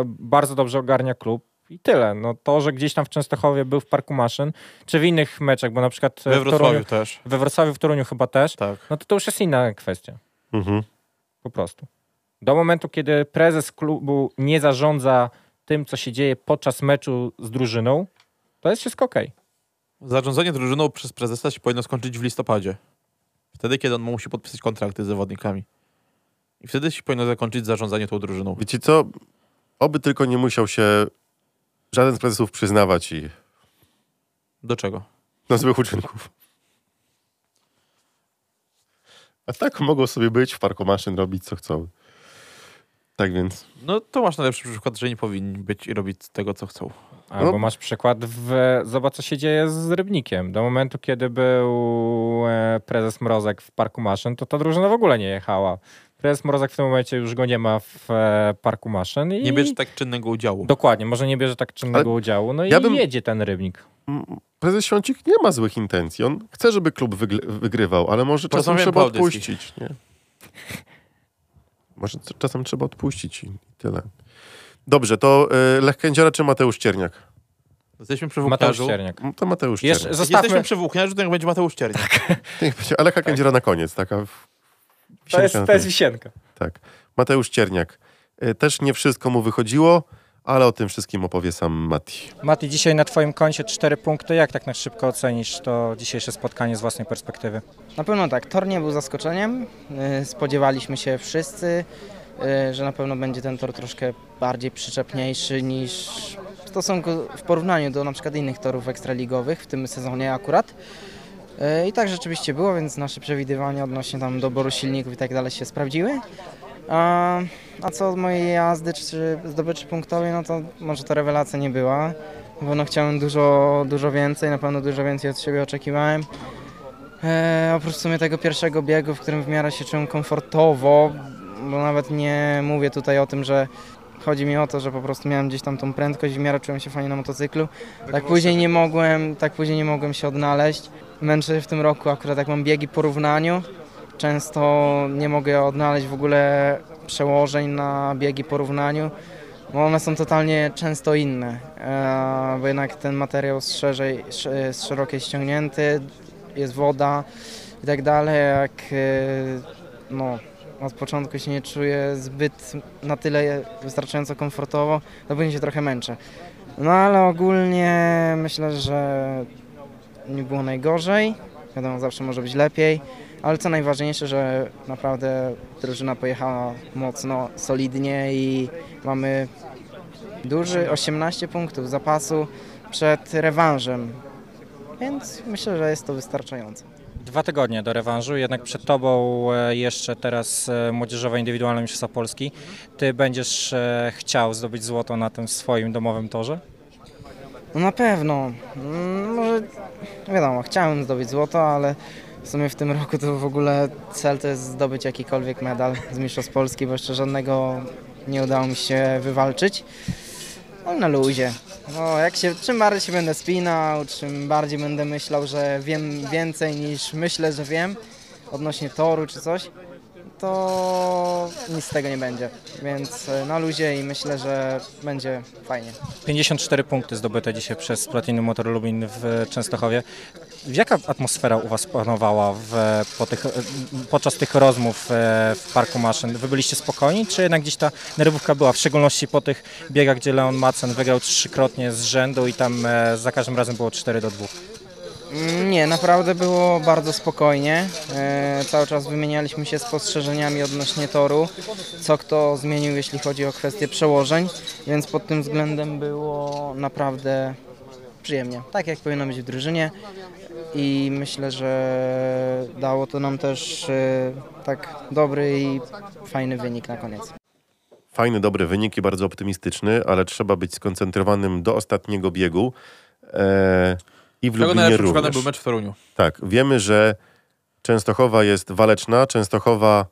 Speaker 4: bardzo dobrze ogarnia klub i tyle. No to, że gdzieś tam w Częstochowie był w Parku Maszyn, czy w innych meczach, bo na przykład e,
Speaker 3: We
Speaker 4: w Toruniu,
Speaker 3: Wrocławiu też.
Speaker 4: we Wrocławiu, w Toruniu chyba też,
Speaker 3: Tak.
Speaker 4: no to to już jest inna kwestia,
Speaker 2: Mhm.
Speaker 4: po prostu. Do momentu, kiedy prezes klubu nie zarządza tym, co się dzieje podczas meczu z drużyną, to jest wszystko okej.
Speaker 3: Zarządzanie drużyną przez prezesa się powinno skończyć w listopadzie. Wtedy, kiedy on musi podpisać kontrakty z zawodnikami. I wtedy się powinno zakończyć zarządzanie tą drużyną.
Speaker 2: Wiecie co? Oby tylko nie musiał się żaden z prezesów przyznawać i
Speaker 3: Do czego?
Speaker 2: do złych uczynków. A tak mogą sobie być w parku maszyn, robić co chcą. Tak więc,
Speaker 3: No to masz najlepszy przykład, że nie powinni być i robić tego, co chcą.
Speaker 4: Albo
Speaker 2: No.
Speaker 4: masz przykład, w, zobacz co się dzieje z Rybnikiem. Do momentu, kiedy był e, prezes Mrozek w Parku Maszyn, to ta drużyna w ogóle nie jechała. Prezes Mrozek w tym momencie już go nie ma w e, Parku Maszyn i...
Speaker 3: Nie bierz tak czynnego udziału.
Speaker 4: Dokładnie, może nie bierze tak czynnego udziału, no
Speaker 2: ja
Speaker 4: i
Speaker 2: bym-
Speaker 4: jedzie ten Rybnik.
Speaker 2: prezes Świącik nie ma złych intencji. On chce, żeby klub wygl- wygrywał, ale może czasem
Speaker 3: Porozmawiamy
Speaker 2: trzeba
Speaker 3: po audycji.
Speaker 2: odpuścić. Nie? Może c- czasem trzeba odpuścić i tyle. Dobrze, to y, Lech Kędziora czy Mateusz Cierniak?
Speaker 3: Jesteśmy przy
Speaker 4: Mateusz
Speaker 3: włókniarzu.
Speaker 4: Czerniak.
Speaker 2: No To Mateusz
Speaker 4: Jeszcze,
Speaker 2: Cierniak.
Speaker 4: zostawmy,
Speaker 3: Jesteśmy przy włókniarzu, to niech będzie Mateusz Czerniak.
Speaker 2: Niech będzie- A Lecha Kędziora na koniec, taka... w-
Speaker 4: Tak. to, jest,
Speaker 2: wisienka na
Speaker 4: to jest
Speaker 2: tym.
Speaker 4: wisienka.
Speaker 2: Tak. Mateusz Cierniak. Y, Też nie wszystko mu wychodziło, ale o tym wszystkim opowie sam Mati.
Speaker 5: Mati, dzisiaj na Twoim koncie cztery punkty. Jak tak na szybko ocenisz to dzisiejsze spotkanie z własnej perspektywy?
Speaker 8: Na pewno tak, tor nie był zaskoczeniem, y, spodziewaliśmy się wszyscy.
Speaker 6: e, że na pewno będzie ten tor troszkę bardziej przyczepniejszy niż w stosunku, w porównaniu do na przykład innych torów ekstraligowych w tym sezonie akurat. E, I tak rzeczywiście było, więc nasze przewidywania odnośnie tam doboru silników i tak dalej się sprawdziły. A, a co od mojej jazdy czy zdobyczy punktowej, no to może to rewelacja nie była, bo no chciałem dużo, dużo więcej, na pewno dużo więcej od siebie oczekiwałem. E, oprócz w sumie tego pierwszego biegu, w którym w miarę się czułem komfortowo, bo nawet nie mówię tutaj o tym, że chodzi mi o to, że po prostu miałem gdzieś tam tą prędkość i w miarę czułem się fajnie na motocyklu. Tak później nie mogłem, tak później nie mogłem się odnaleźć. Męczę się w tym roku akurat jak mam biegi porównaniu. Często nie mogę odnaleźć w ogóle przełożeń na biegi porównaniu, bo one są totalnie często inne, e, bo jednak ten materiał z, szerzej, sz- z szerokiej ściągnięty, jest woda i tak dalej, jak e, no, od początku się nie czuję zbyt na tyle wystarczająco komfortowo, to później się trochę męczę. No ale ogólnie myślę, że nie było najgorzej. Wiadomo, zawsze może być lepiej, ale co najważniejsze, że naprawdę drużyna pojechała mocno, solidnie i mamy duży 18 punktów zapasu przed rewanżem. Więc myślę, że jest to wystarczające.
Speaker 5: Dwa tygodnie do rewanżu, jednak przed tobą e, jeszcze teraz e, młodzieżowe indywidualne mistrzostwa Polski. Ty będziesz e, chciał zdobyć złoto na tym swoim domowym torze?
Speaker 6: No na pewno. Mm, Może, wiadomo, chciałem zdobyć złoto, ale w sumie w tym roku to w ogóle cel to jest zdobyć jakikolwiek medal z Mistrzostw Polski, bo jeszcze żadnego nie udało mi się wywalczyć. Ale na luzie. No, jak się, czym bardziej się będę spinał, czym bardziej będę myślał, że wiem więcej niż myślę, że wiem odnośnie toru czy coś, to nic z tego nie będzie. Więc e, na luzie i myślę, że będzie fajnie.
Speaker 5: 54 punkty zdobyte dzisiaj przez Platinum Motor Lubin w Częstochowie. Jaka atmosfera u Was panowała w, po tych, podczas tych rozmów e, w Parku Maszyn? Wy byliście spokojni, czy jednak gdzieś ta nerwówka była, w szczególności po tych biegach, gdzie Leon Madsen wygrał trzykrotnie z rzędu i tam e, za każdym razem było 4 do 2?
Speaker 6: Mm, Nie, naprawdę było bardzo spokojnie. E, cały czas wymienialiśmy się spostrzeżeniami odnośnie toru, co kto zmienił, jeśli chodzi o kwestie przełożeń, więc pod tym względem było naprawdę przyjemnie, tak jak powinno być w drużynie i myślę, że dało to nam też e, tak dobry i fajny wynik na koniec.
Speaker 2: Fajny, dobry wynik i bardzo optymistyczny, ale trzeba być skoncentrowanym do ostatniego biegu. E, I w
Speaker 3: Tego
Speaker 2: Lublinie
Speaker 3: najlepszym przykładem
Speaker 2: również.
Speaker 3: był mecz w Toruniu.
Speaker 2: Tak, wiemy, że Częstochowa jest waleczna, Częstochowa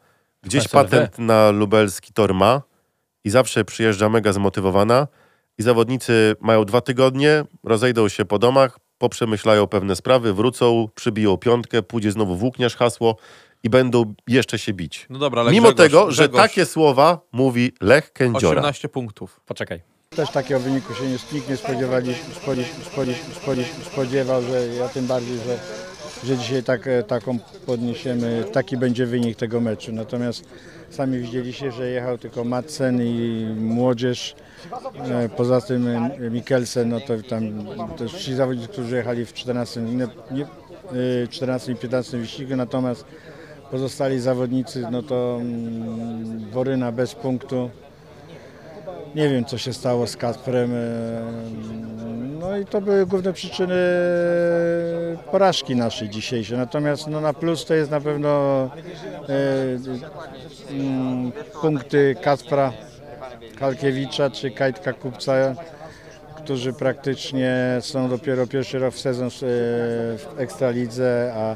Speaker 2: gdzieś
Speaker 3: SLW.
Speaker 2: patent na lubelski tor ma i zawsze przyjeżdża mega zmotywowana i zawodnicy mają dwa tygodnie, rozejdą się po domach, poprzemyślają pewne sprawy, wrócą, przybiją piątkę, pójdzie znowu włókniarz hasło i będą jeszcze się bić.
Speaker 3: No dobra, ale
Speaker 2: Mimo
Speaker 3: Grzegorz,
Speaker 2: tego, że tak
Speaker 3: Grzegorz,
Speaker 2: takie słowa mówi Lech Kędziora.
Speaker 3: 18 punktów.
Speaker 5: Poczekaj.
Speaker 8: Też takiego wyniku się nie, nikt nie spodziewali, spodzi, spodzi, spodzi, spodziewał, że ja tym bardziej, że, że dzisiaj tak, e, taką podniesiemy, taki będzie wynik tego meczu. Natomiast sami widzieliście, że jechał tylko Madsen i młodzież. E, Poza tym e, Mikkelsen, no to tam też ci zawodnicy, którzy jechali w 14, nie, nie, y, 14 i 15 wyścigu, natomiast pozostali zawodnicy, no to mm, Boryna bez punktu. Nie wiem, co się stało z Kasprem. e, No i to były główne przyczyny porażki naszej dzisiejszej. Natomiast no, na plus to jest na pewno e, mm, punkty Kaspra Kalkiewicza czy Kajtka Kupca, którzy praktycznie są dopiero pierwszy rok w sezon e, w Ekstralidze, a,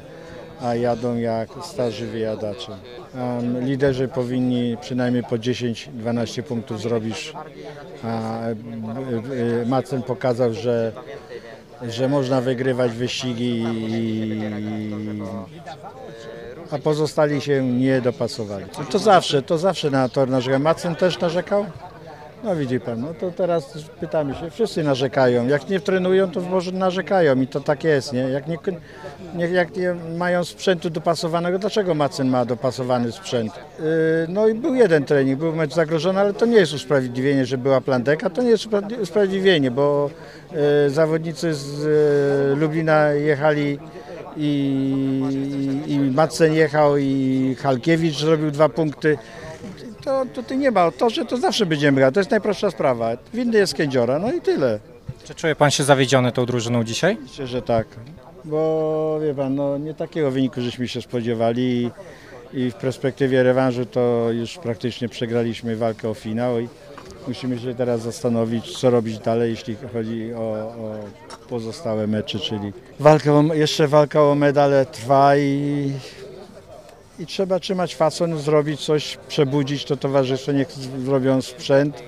Speaker 8: a jadą jak starzy wyjadacze. Um, liderzy powinni przynajmniej po 10-12 punktów zrobić. A, e, e, Macen pokazał, że, że można wygrywać wyścigi, i, a pozostali się nie dopasowali. To, to zawsze, to zawsze na tor narzekał. Macen też narzekał? No widzi pan, no to teraz pytamy się, wszyscy narzekają. Jak nie trenują, to może narzekają i to tak jest, nie? Jak nie, nie, jak nie mają sprzętu dopasowanego, dlaczego Macen ma dopasowany sprzęt? Yy, no i był jeden trening, był mecz zagrożony, ale to nie jest usprawiedliwienie, że była plandeka, to nie jest uspra- usprawiedliwienie, bo yy, zawodnicy z yy, Lublina jechali i, i Macen jechał i Halkiewicz zrobił dwa punkty. to tutaj nie ma. O torze to zawsze będziemy grać. To jest najprostsza sprawa. Windy jest kędziora, no i tyle.
Speaker 5: Czy czuje pan się zawiedziony tą drużyną dzisiaj?
Speaker 8: Myślę, że tak. Bo wie pan, no, nie takiego wyniku żeśmy się spodziewali i, i w perspektywie rewanżu to już praktycznie przegraliśmy walkę o finał i musimy się teraz zastanowić, co robić dalej, jeśli chodzi o, o pozostałe mecze, czyli walka o, jeszcze walka o medale trwa i, i trzeba trzymać fason, zrobić coś, przebudzić to towarzystwo, niech z- zrobią sprzęt.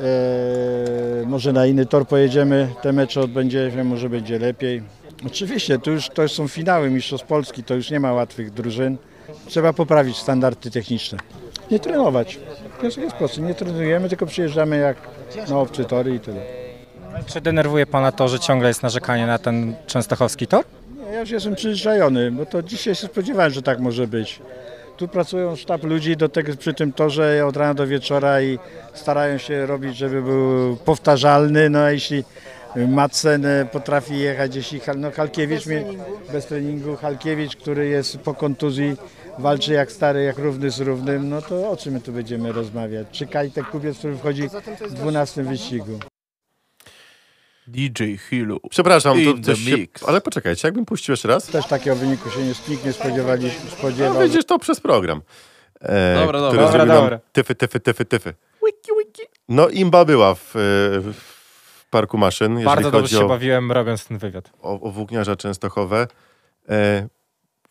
Speaker 8: Eee, może na inny tor pojedziemy, te mecze odbędzie się, może będzie lepiej. Oczywiście, to już to już są finały Mistrzostw Polski, to już nie ma łatwych drużyn. Trzeba poprawić standardy techniczne. Nie trenować. Wniosek jest prosty, nie trenujemy, tylko przyjeżdżamy jak na obcy tory i tyle.
Speaker 5: Czy denerwuje pana to, że ciągle jest narzekanie na ten częstochowski tor?
Speaker 8: Nie, ja już jestem przyzwyczajony, bo to dzisiaj się spodziewałem, że tak może być. Tu pracują sztab ludzi do tego, przy tym torze od rana do wieczora i starają się robić, żeby był powtarzalny. No a jeśli Macen e, potrafi jechać, jeśli Hal- no, Halkiewicz bez, treningu. bez treningu, Halkiewicz, który jest po kontuzji, walczy jak stary, jak równy z równym, no to o czym my tu będziemy rozmawiać? Czy Kajtek Kubiec, który wchodzi w 12 wyścigu?
Speaker 3: DJ Hilu.
Speaker 2: Przepraszam, to
Speaker 3: In
Speaker 2: coś
Speaker 3: the
Speaker 2: się...
Speaker 3: mix.
Speaker 2: Ale poczekajcie, jakbym puścił jeszcze raz?
Speaker 8: Też takiego wyniku się nie, nikt nie spodziewaliśmy,
Speaker 2: No
Speaker 8: spodziewał.
Speaker 2: widzisz, to przez program. E,
Speaker 3: Dobra, dobra.
Speaker 2: który
Speaker 3: Dobra,
Speaker 2: zrobił nam
Speaker 5: dobra.
Speaker 2: Tyfy, tyfy, tyfy, tyfy. No imba była w, e, w Parku Maszyn, jeżeli
Speaker 5: Bardzo
Speaker 2: chodzi
Speaker 5: dobrze się
Speaker 2: o,
Speaker 5: bawiłem robiąc ten wywiad.
Speaker 2: o, o włókniarza Częstochowe. E,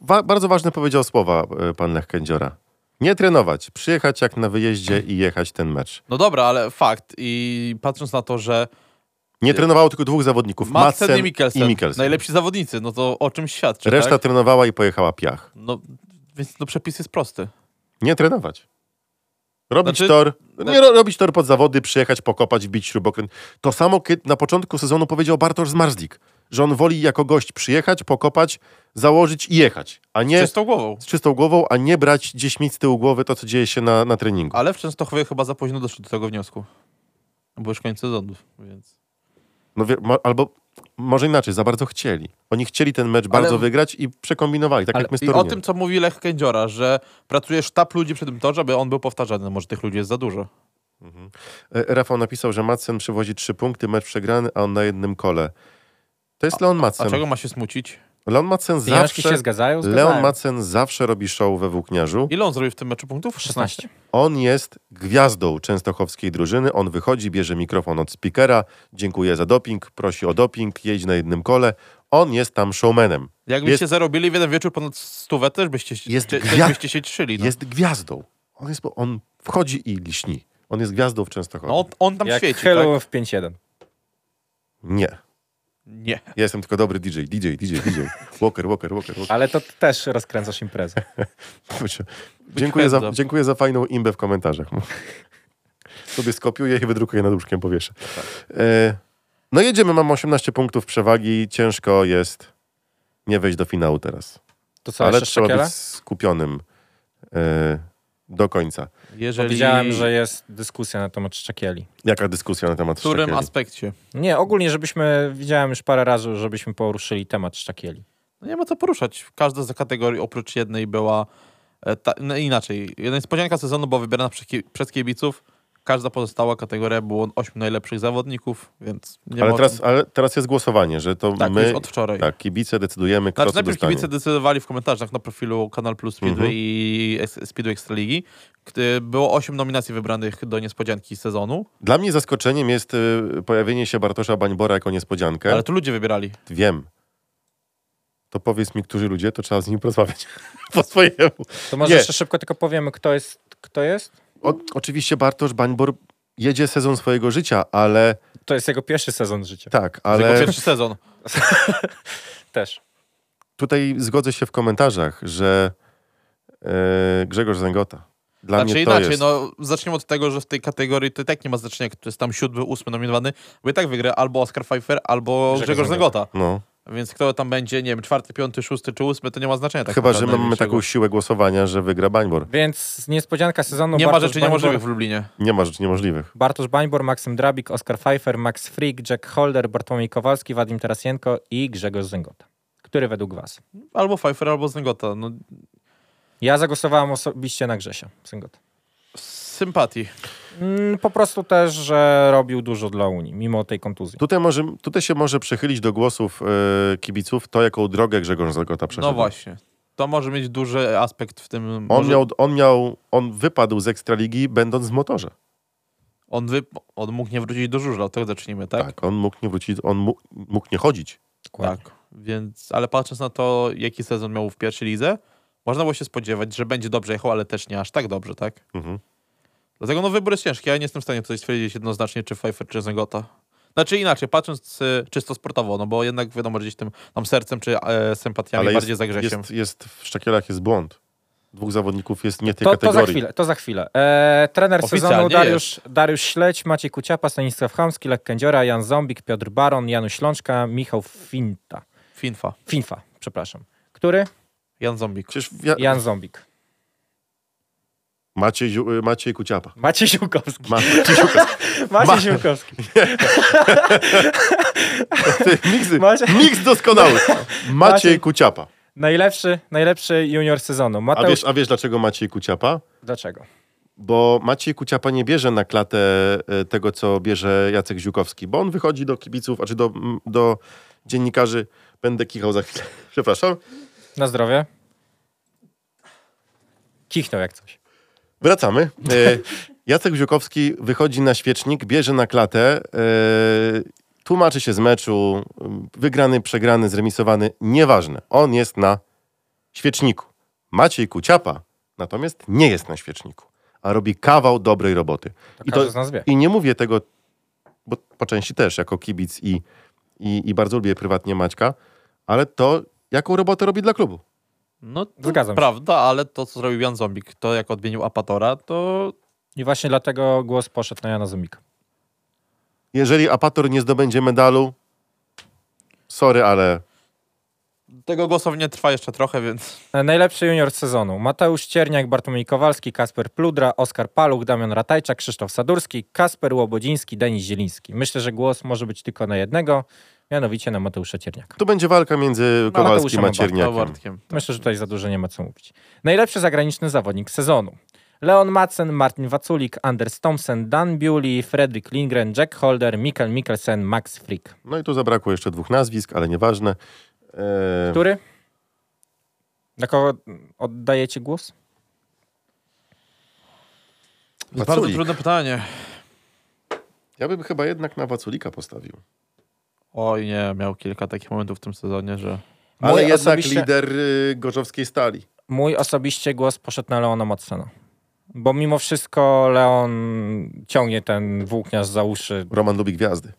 Speaker 2: wa, bardzo ważne powiedział słowa e, pan Lech Kędziora. Nie trenować, przyjechać jak na wyjeździe i jechać ten mecz.
Speaker 3: No dobra, ale fakt. I patrząc na to, że
Speaker 2: Nie trenowało tylko dwóch zawodników,
Speaker 3: Madsen,
Speaker 2: Madsen
Speaker 3: i Mikkelsen,
Speaker 2: i Mikkelsen.
Speaker 3: najlepsi zawodnicy, no to o czym świadczy,
Speaker 2: Reszta
Speaker 3: tak?
Speaker 2: trenowała i pojechała piach.
Speaker 3: No, więc no przepis jest prosty.
Speaker 2: Nie trenować. Robić
Speaker 3: Znaczy-
Speaker 2: tor, nie ro, robić tor pod zawody, przyjechać, pokopać, wbić śrubokręt. To samo kiedy na początku sezonu powiedział Bartosz Zmarzlik, że on woli jako gość przyjechać, pokopać, założyć i jechać, a
Speaker 3: Nie.
Speaker 2: nie z
Speaker 3: Czystą głową.
Speaker 2: czystą głową, a nie brać gdzieś mieć z tyłu głowy to, co dzieje się na, na treningu.
Speaker 3: Ale w Częstochowie chyba za późno doszło do tego wniosku. Bo już koniec sezonu, więc...
Speaker 2: No, wie- mo, albo może inaczej, za bardzo chcieli. Oni chcieli ten mecz bardzo wygrać i przekombinowali, tak
Speaker 3: Ale
Speaker 2: jak my z
Speaker 3: I o
Speaker 2: Toruniem.
Speaker 3: tym, co mówi Lech Kędziora, że pracuje sztab ludzi przy tym torze, aby on był powtarzany. No Może tych ludzi jest za dużo.
Speaker 2: E, Rafał napisał, że Madsen przywozi trzy punkty, mecz przegrany, a on na jednym kole. To jest Leon
Speaker 3: A
Speaker 2: Madsen.
Speaker 3: czego ma się smucić?
Speaker 2: Leon Madsen
Speaker 4: Pieniążki
Speaker 2: zawsze...
Speaker 4: się zgadzają? Zgadzają.
Speaker 2: Leon Madsen zawsze robi show we włókniarzu.
Speaker 3: Ile on zrobił w tym meczu punktów?
Speaker 4: 16.
Speaker 2: On jest gwiazdą częstochowskiej drużyny. On wychodzi, bierze mikrofon od speakera, dziękuję za doping, prosi o doping, jedź na jednym kole. On jest tam showmanem.
Speaker 3: Jakbyście
Speaker 2: Jest-
Speaker 3: zarobili w jeden wieczór ponad stówę, też byście, się-
Speaker 2: Jest
Speaker 3: te,
Speaker 2: gwiazd-
Speaker 3: też byście się cieszyli. No.
Speaker 2: Jest gwiazdą. On, jest, on wchodzi i liśni. On jest gwiazdą w Częstochowie.
Speaker 3: No, on, on tam
Speaker 4: Jak
Speaker 3: świeci,
Speaker 4: Hello
Speaker 3: tak?
Speaker 4: w 5-1.
Speaker 2: Nie.
Speaker 3: Nie.
Speaker 2: Ja jestem tylko dobry DJ, DJ, DJ, DJ. Walker, Walker, Walker, Walker.
Speaker 4: Ale to ty też rozkręcasz imprezę.
Speaker 2: Dziękuję za,
Speaker 3: pędzem.
Speaker 2: dziękuję za fajną imbę w komentarzach. Sobie skopiuję i wydrukuję nad łóżkiem, powieszę. E, no jedziemy, mam 18 punktów przewagi. Ciężko jest nie wejść do finału teraz.
Speaker 4: To co,
Speaker 2: Ale
Speaker 4: jeszcze
Speaker 2: trzeba
Speaker 4: Szekiela?
Speaker 2: być skupionym e, do końca.
Speaker 3: Jeżeli...
Speaker 4: Widziałem, że jest dyskusja na temat Szczekieli.
Speaker 2: Jaka dyskusja na temat
Speaker 3: W którym
Speaker 2: Szczekieli?
Speaker 3: aspekcie?
Speaker 4: Nie, ogólnie, żebyśmy, widziałem już parę razy, żebyśmy poruszyli temat Szczekieli.
Speaker 3: No nie ma co poruszać. Każda z kategorii oprócz jednej była e, ta, no inaczej. Jedna niespodzianka sezonu była wybierana przez ki- przez kibiców. Każda pozostała kategoria było ośmiu najlepszych zawodników, więc nie
Speaker 2: Ale
Speaker 3: ma...
Speaker 2: teraz, ale teraz jest głosowanie, że to
Speaker 3: Tak,
Speaker 2: my,
Speaker 3: już od wczoraj.
Speaker 2: tak, kibice decydujemy, kto
Speaker 3: Znaczy,
Speaker 2: co
Speaker 3: najpierw
Speaker 2: dostanie.
Speaker 3: kibice decydowali w komentarzach na profilu Kanal Plus Speedway
Speaker 2: Mhm.
Speaker 3: i Ex- Speedway Ekstraligi. gdy Było 8 nominacji wybranych do niespodzianki sezonu,
Speaker 2: Dla mnie zaskoczeniem jest y, pojawienie się Bartosza Bańbora jako niespodziankę.
Speaker 3: ale to ludzie wybierali.
Speaker 2: Wiem. To powiedz mi, którzy ludzie, to trzeba z nim porozmawiać po swojemu.
Speaker 4: To może
Speaker 2: Nie.
Speaker 4: jeszcze szybko tylko powiemy, kto jest, kto jest?
Speaker 2: O, oczywiście Bartosz Bańbor jedzie sezon swojego życia, ale
Speaker 4: To jest jego pierwszy sezon życia.
Speaker 2: tak,
Speaker 3: Tylko
Speaker 2: ale
Speaker 3: pierwszy sezon. Tak.
Speaker 4: Też.
Speaker 2: tutaj zgodzę się w komentarzach, że e, Grzegorz Zęgota. Dla
Speaker 3: Znaczy
Speaker 2: mnie to
Speaker 3: inaczej,
Speaker 2: jest.
Speaker 3: no zacznijmy od tego, że w tej kategorii to i tak nie ma znaczenia, kto jest tam siódmy, ósmy nominowany, bo i tak wygra albo Oscar Pfeiffer, albo Grzegorz, Zagota.
Speaker 2: No.
Speaker 3: Więc kto tam będzie, nie wiem, czwarty, piąty, szósty czy ósmy, to nie ma znaczenia. Tak
Speaker 2: Chyba, że
Speaker 3: naprawdę
Speaker 2: mamy
Speaker 3: większego.
Speaker 2: taką siłę głosowania, że wygra Bańbor.
Speaker 4: Więc niespodzianka sezonu.
Speaker 2: No
Speaker 3: Nie ma
Speaker 4: Bartosz
Speaker 3: rzeczy
Speaker 4: Bańbor-
Speaker 3: niemożliwych w Lublinie.
Speaker 2: Nie ma rzeczy niemożliwych.
Speaker 4: Bartosz Bańbor, Maksym Drabik, Oskar Pfeiffer, Max Frick, Jack Holder, Bartłomiej Kowalski, Wadim Tarasienko i Grzegorz Zęgota. Który według was?
Speaker 3: Albo Pfeiffer, albo Zengota. No,
Speaker 4: Ja zagłosowałem osobiście na Grzesia Zęgota.
Speaker 3: Z sympatii.
Speaker 4: Mm, po prostu też, że robił dużo dla Unii, mimo tej kontuzji.
Speaker 2: Tutaj, może, tutaj się może przychylić do głosów e, kibiców to, jaką drogę Grzegorz Zagota przeszedł.
Speaker 3: No właśnie. To może mieć duży aspekt w tym.
Speaker 2: On,
Speaker 3: może-
Speaker 2: miał, on miał, on wypadł z Ekstraligi będąc w motorze.
Speaker 3: on, wy... on mógł nie wrócić do żużla, od tego zacznijmy, tak?
Speaker 2: Tak, on mógł nie wrócić, on mógł, mógł nie chodzić.
Speaker 4: Dokładnie.
Speaker 3: Tak. Więc, ale patrząc na to, jaki sezon miał w pierwszej lidze, można było się spodziewać, że będzie dobrze jechał, ale też nie aż tak dobrze, tak?
Speaker 2: Mhm.
Speaker 3: Dlatego no wybór jest ciężki. Ja nie jestem w stanie tutaj stwierdzić jednoznacznie, czy Pfeiffer, czy Zengota. Znaczy inaczej, patrząc y, czysto sportowo, no bo jednak wiadomo, że gdzieś tym tam sercem czy e, sympatiami
Speaker 2: Ale
Speaker 3: bardziej
Speaker 2: jest,
Speaker 3: za Grzesiem.
Speaker 2: jest, jest w Szczekielach jest błąd. Dwóch zawodników jest nie tej
Speaker 4: To, to
Speaker 2: kategorii.
Speaker 4: za chwilę, to za chwilę. E, trener
Speaker 3: Oficjalnie
Speaker 4: sezonu Dariusz, Dariusz Śleć, Maciej Kuciapa, Stanisław Chamski, Lek Kędziora, Jan Zombik, Piotr Baron, Janusz Ślączka, Michał Finta.
Speaker 3: Finfa.
Speaker 4: Finfa, przepraszam. Który?
Speaker 3: Jan Zombik.
Speaker 2: Przecież ja,
Speaker 4: Jan Zombik.
Speaker 2: Maciej, Ziu- y, Maciej Kuciapa.
Speaker 4: Maciej Ziółkowski.
Speaker 2: Ma,
Speaker 4: Maciej
Speaker 2: Ma-
Speaker 4: Ziółkowski.
Speaker 2: miks,
Speaker 4: Maciej-
Speaker 2: miks doskonały. Maciej,
Speaker 4: Maciej-
Speaker 2: Kuciapa.
Speaker 4: Najlepszy, najlepszy junior sezonu.
Speaker 2: A
Speaker 4: Mateusz,
Speaker 2: wiesz, a wiesz dlaczego Maciej Kuciapa?
Speaker 4: dlaczego?
Speaker 2: Bo Maciej Kuciapa nie bierze na klatę e, tego, co bierze Jacek Ziółkowski, bo on wychodzi do kibiców, a czy do, m, do dziennikarzy, będę kichał za chwilę, przepraszam,
Speaker 4: Na zdrowie. Kichnął jak coś.
Speaker 2: Wracamy. E, Jacek Ziółkowski wychodzi na świecznik, bierze na klatę, e, tłumaczy się z meczu, wygrany, przegrany, zremisowany, nieważne. On jest na świeczniku. Maciej Kuciapa natomiast nie jest na świeczniku, a robi kawał dobrej roboty.
Speaker 4: To
Speaker 2: I,
Speaker 4: każdy
Speaker 2: to,
Speaker 4: z nas wie.
Speaker 2: I nie mówię tego, bo po części też jako kibic i, i, i bardzo lubię prywatnie Maćka, ale to jaką robotę robi dla klubu.
Speaker 3: No, to
Speaker 4: Zgadzam się.
Speaker 3: prawda, ale to, co zrobił Jan Zombik, to jak odmienił Apatora, to
Speaker 4: I właśnie dlatego głos poszedł na Jana Zombika.
Speaker 2: Jeżeli Apator nie zdobędzie medalu, sorry, ale
Speaker 3: tego głosowanie trwa jeszcze trochę, więc
Speaker 4: E, Najlepszy junior sezonu. Mateusz Cierniak, Bartłomiej Kowalski, Kasper Pludra, Oskar Paluch, Damian Ratajczak, Krzysztof Sadurski, Kasper Łobodziński, Denis Zieliński. Myślę, że głos może być tylko na jednego, mianowicie na Mateusza Cierniaka.
Speaker 2: Tu będzie walka między
Speaker 4: No, ale to
Speaker 2: Kowalskim
Speaker 4: usiądą
Speaker 2: a
Speaker 4: bardzo,
Speaker 3: to
Speaker 2: Cierniakiem.
Speaker 3: Bartkiem.
Speaker 4: Myślę, że tutaj za dużo nie ma co mówić. Najlepszy zagraniczny zawodnik sezonu. Leon Madsen, Martin Waculik, Anders Thompson, Dan Bewley, Fredrik Lindgren, Jack Holder, Mikkel Mikkelsen, Max Frick.
Speaker 2: No i tu zabrakło jeszcze dwóch nazwisk, ale nieważne. E,
Speaker 4: Który? Na kogo oddajecie głos?
Speaker 3: To jest bardzo
Speaker 2: Waculik.
Speaker 3: trudne pytanie.
Speaker 2: Ja bym chyba jednak na Waculika postawił.
Speaker 3: Oj nie, miał kilka takich momentów w tym sezonie, że
Speaker 2: Ale
Speaker 4: Mój
Speaker 2: jednak
Speaker 4: osobiście-
Speaker 2: lider y, Gorzowskiej Stali.
Speaker 4: Mój osobiście głos poszedł na Leona Madsena. Bo mimo wszystko Leon ciągnie ten włókniarz za uszy.
Speaker 2: Roman lubi gwiazdy.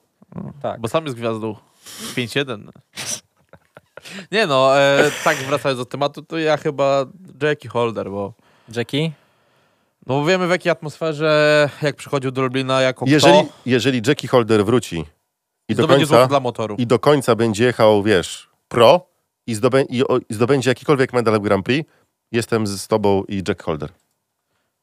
Speaker 4: Tak.
Speaker 3: Bo sam jest gwiazdą. 5-1. Nie no, e, tak wracając do tematu, to ja chyba Jackie Holder, bo
Speaker 4: Jackie?
Speaker 3: no wiemy w jakiej atmosferze, jak przychodził do Lublina jako
Speaker 2: Jeżeli,
Speaker 3: kto,
Speaker 2: jeżeli Jackie Holder wróci i do,
Speaker 3: to będzie
Speaker 2: końca,
Speaker 3: złoto dla motoru.
Speaker 2: i do końca będzie jechał, wiesz, pro i, zdobę, i, o, i zdobędzie jakikolwiek medal w Grand Prix, jestem z tobą i Jack Holder.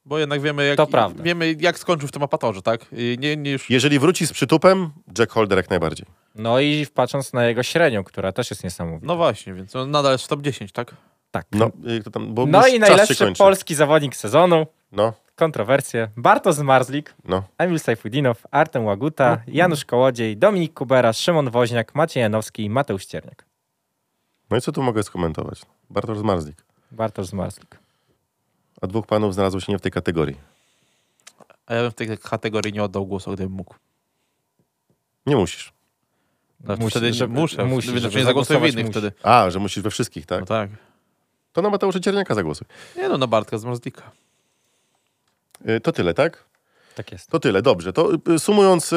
Speaker 3: Bo jednak wiemy jak,
Speaker 4: To prawda.
Speaker 3: wiemy, jak skończył w tym apatorze, tak? I nie, nie już...
Speaker 2: Jeżeli wróci z przytupem, Jack Holder jak najbardziej.
Speaker 4: No i patrząc na jego średnią, która też jest niesamowita.
Speaker 3: No właśnie, więc on nadal jest w top 10, tak?
Speaker 4: tak.
Speaker 2: No, y, to tam, bo już
Speaker 4: no i
Speaker 2: czas się
Speaker 4: najlepszy
Speaker 2: kończy.
Speaker 4: polski zawodnik sezonu.
Speaker 2: No,
Speaker 4: Kontrowersje. Bartosz Marzlik,
Speaker 2: no.
Speaker 4: Emil Sajfudinow, Artem Łaguta, Janusz Kołodziej, Dominik Kubera, Szymon Woźniak, Maciej Janowski i Mateusz Cierniak.
Speaker 2: No i co tu mogę skomentować? Bartosz Zmarzlik.
Speaker 4: Bartosz Marzlik.
Speaker 2: A dwóch panów znalazło się nie w tej kategorii.
Speaker 3: A ja bym w tej kategorii nie oddał głosu, gdybym mógł.
Speaker 2: Nie musisz.
Speaker 3: Znaczy,
Speaker 4: Musi-
Speaker 3: wtedy
Speaker 4: żeby-
Speaker 3: muszę,
Speaker 4: musi,
Speaker 3: żeby,
Speaker 4: żeby
Speaker 3: nie zagłosuję w
Speaker 4: zagłosować
Speaker 3: innych
Speaker 4: musi.
Speaker 3: wtedy.
Speaker 2: A, że musisz we wszystkich, tak?
Speaker 3: No tak.
Speaker 2: To na Mateusza Cierniaka zagłosuj.
Speaker 3: Nie no, na Bartka z Marzlika.
Speaker 2: Y, To tyle, tak?
Speaker 4: Tak jest.
Speaker 2: To tyle, dobrze. To y, sumując y,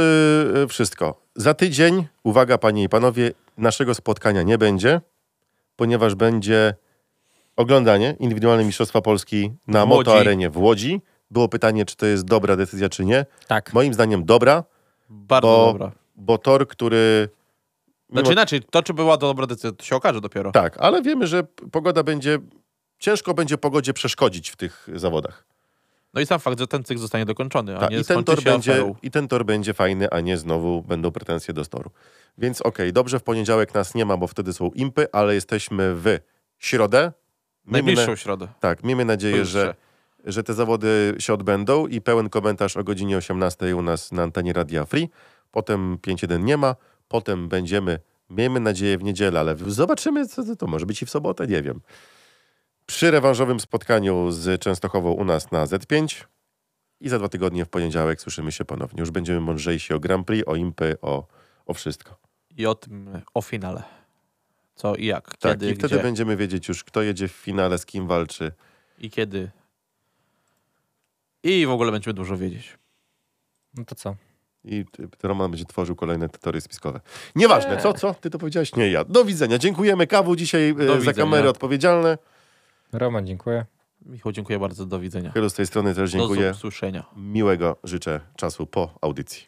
Speaker 2: y, wszystko. Za tydzień, uwaga panie i panowie, naszego spotkania nie będzie, ponieważ będzie oglądanie indywidualne Mistrzostwa Polski na
Speaker 3: W Łodzi.
Speaker 2: motoarenie w Łodzi. Było pytanie, czy to jest dobra decyzja, czy nie.
Speaker 4: Tak.
Speaker 2: Moim zdaniem dobra,
Speaker 3: Bardzo
Speaker 2: Bo-
Speaker 3: dobra.
Speaker 2: bo tor, który... mimo-
Speaker 3: Znaczy inaczej, to czy była to dobra decyzja, to się okaże dopiero.
Speaker 2: Tak, ale wiemy, że p- pogoda będzie. Ciężko będzie pogodzie przeszkodzić w tych zawodach.
Speaker 3: No i sam fakt, że ten cykl zostanie dokończony, a
Speaker 2: Tak,
Speaker 3: nie
Speaker 2: i, ten
Speaker 3: skończy
Speaker 2: tor
Speaker 3: się będzie...
Speaker 2: będzie, I ten tor będzie fajny, a nie znowu będą pretensje do toru. Więc okej, dobrze, w poniedziałek nas nie ma, bo wtedy są impy, ale jesteśmy w środę. Miejmy
Speaker 3: Najbliższą
Speaker 2: na-
Speaker 3: środę.
Speaker 2: Tak, miejmy nadzieję,
Speaker 3: Pojutrze.
Speaker 2: że że te zawody się odbędą i pełen komentarz o godzinie 18 u nas na antenie Radia Free. Potem 5.1 nie ma, potem będziemy, miejmy nadzieję w niedzielę, ale zobaczymy, co to- to może być i w sobotę, nie wiem. Przy rewanżowym spotkaniu z Częstochową u nas na Z5 i za dwa tygodnie w poniedziałek słyszymy się ponownie. Już będziemy mądrzejsi o Grand Prix, o Impy, o, o wszystko.
Speaker 3: I o tym, o finale. Co i jak,
Speaker 2: Tak,
Speaker 3: kiedy,
Speaker 2: i wtedy
Speaker 3: gdzie
Speaker 2: będziemy wiedzieć już, kto jedzie w finale, z kim walczy.
Speaker 3: i kiedy. I w ogóle będziemy dużo wiedzieć.
Speaker 4: No to co?
Speaker 2: I ty- Roman będzie tworzył kolejne teorie spiskowe. Nieważne, co, co? Ty to powiedziałeś? Nie ja. Do widzenia. Dziękujemy. Kawu dzisiaj e, za
Speaker 3: widzenia.
Speaker 2: kamerę odpowiedzialne.
Speaker 4: Roman, dziękuję.
Speaker 3: Michał, dziękuję bardzo, do widzenia.
Speaker 2: Chylu z tej strony też
Speaker 3: Do
Speaker 2: dziękuję.
Speaker 3: usłyszenia.
Speaker 2: Miłego życzę czasu po audycji.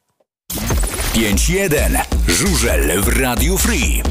Speaker 1: 5-1. Żużel w Radiu Free.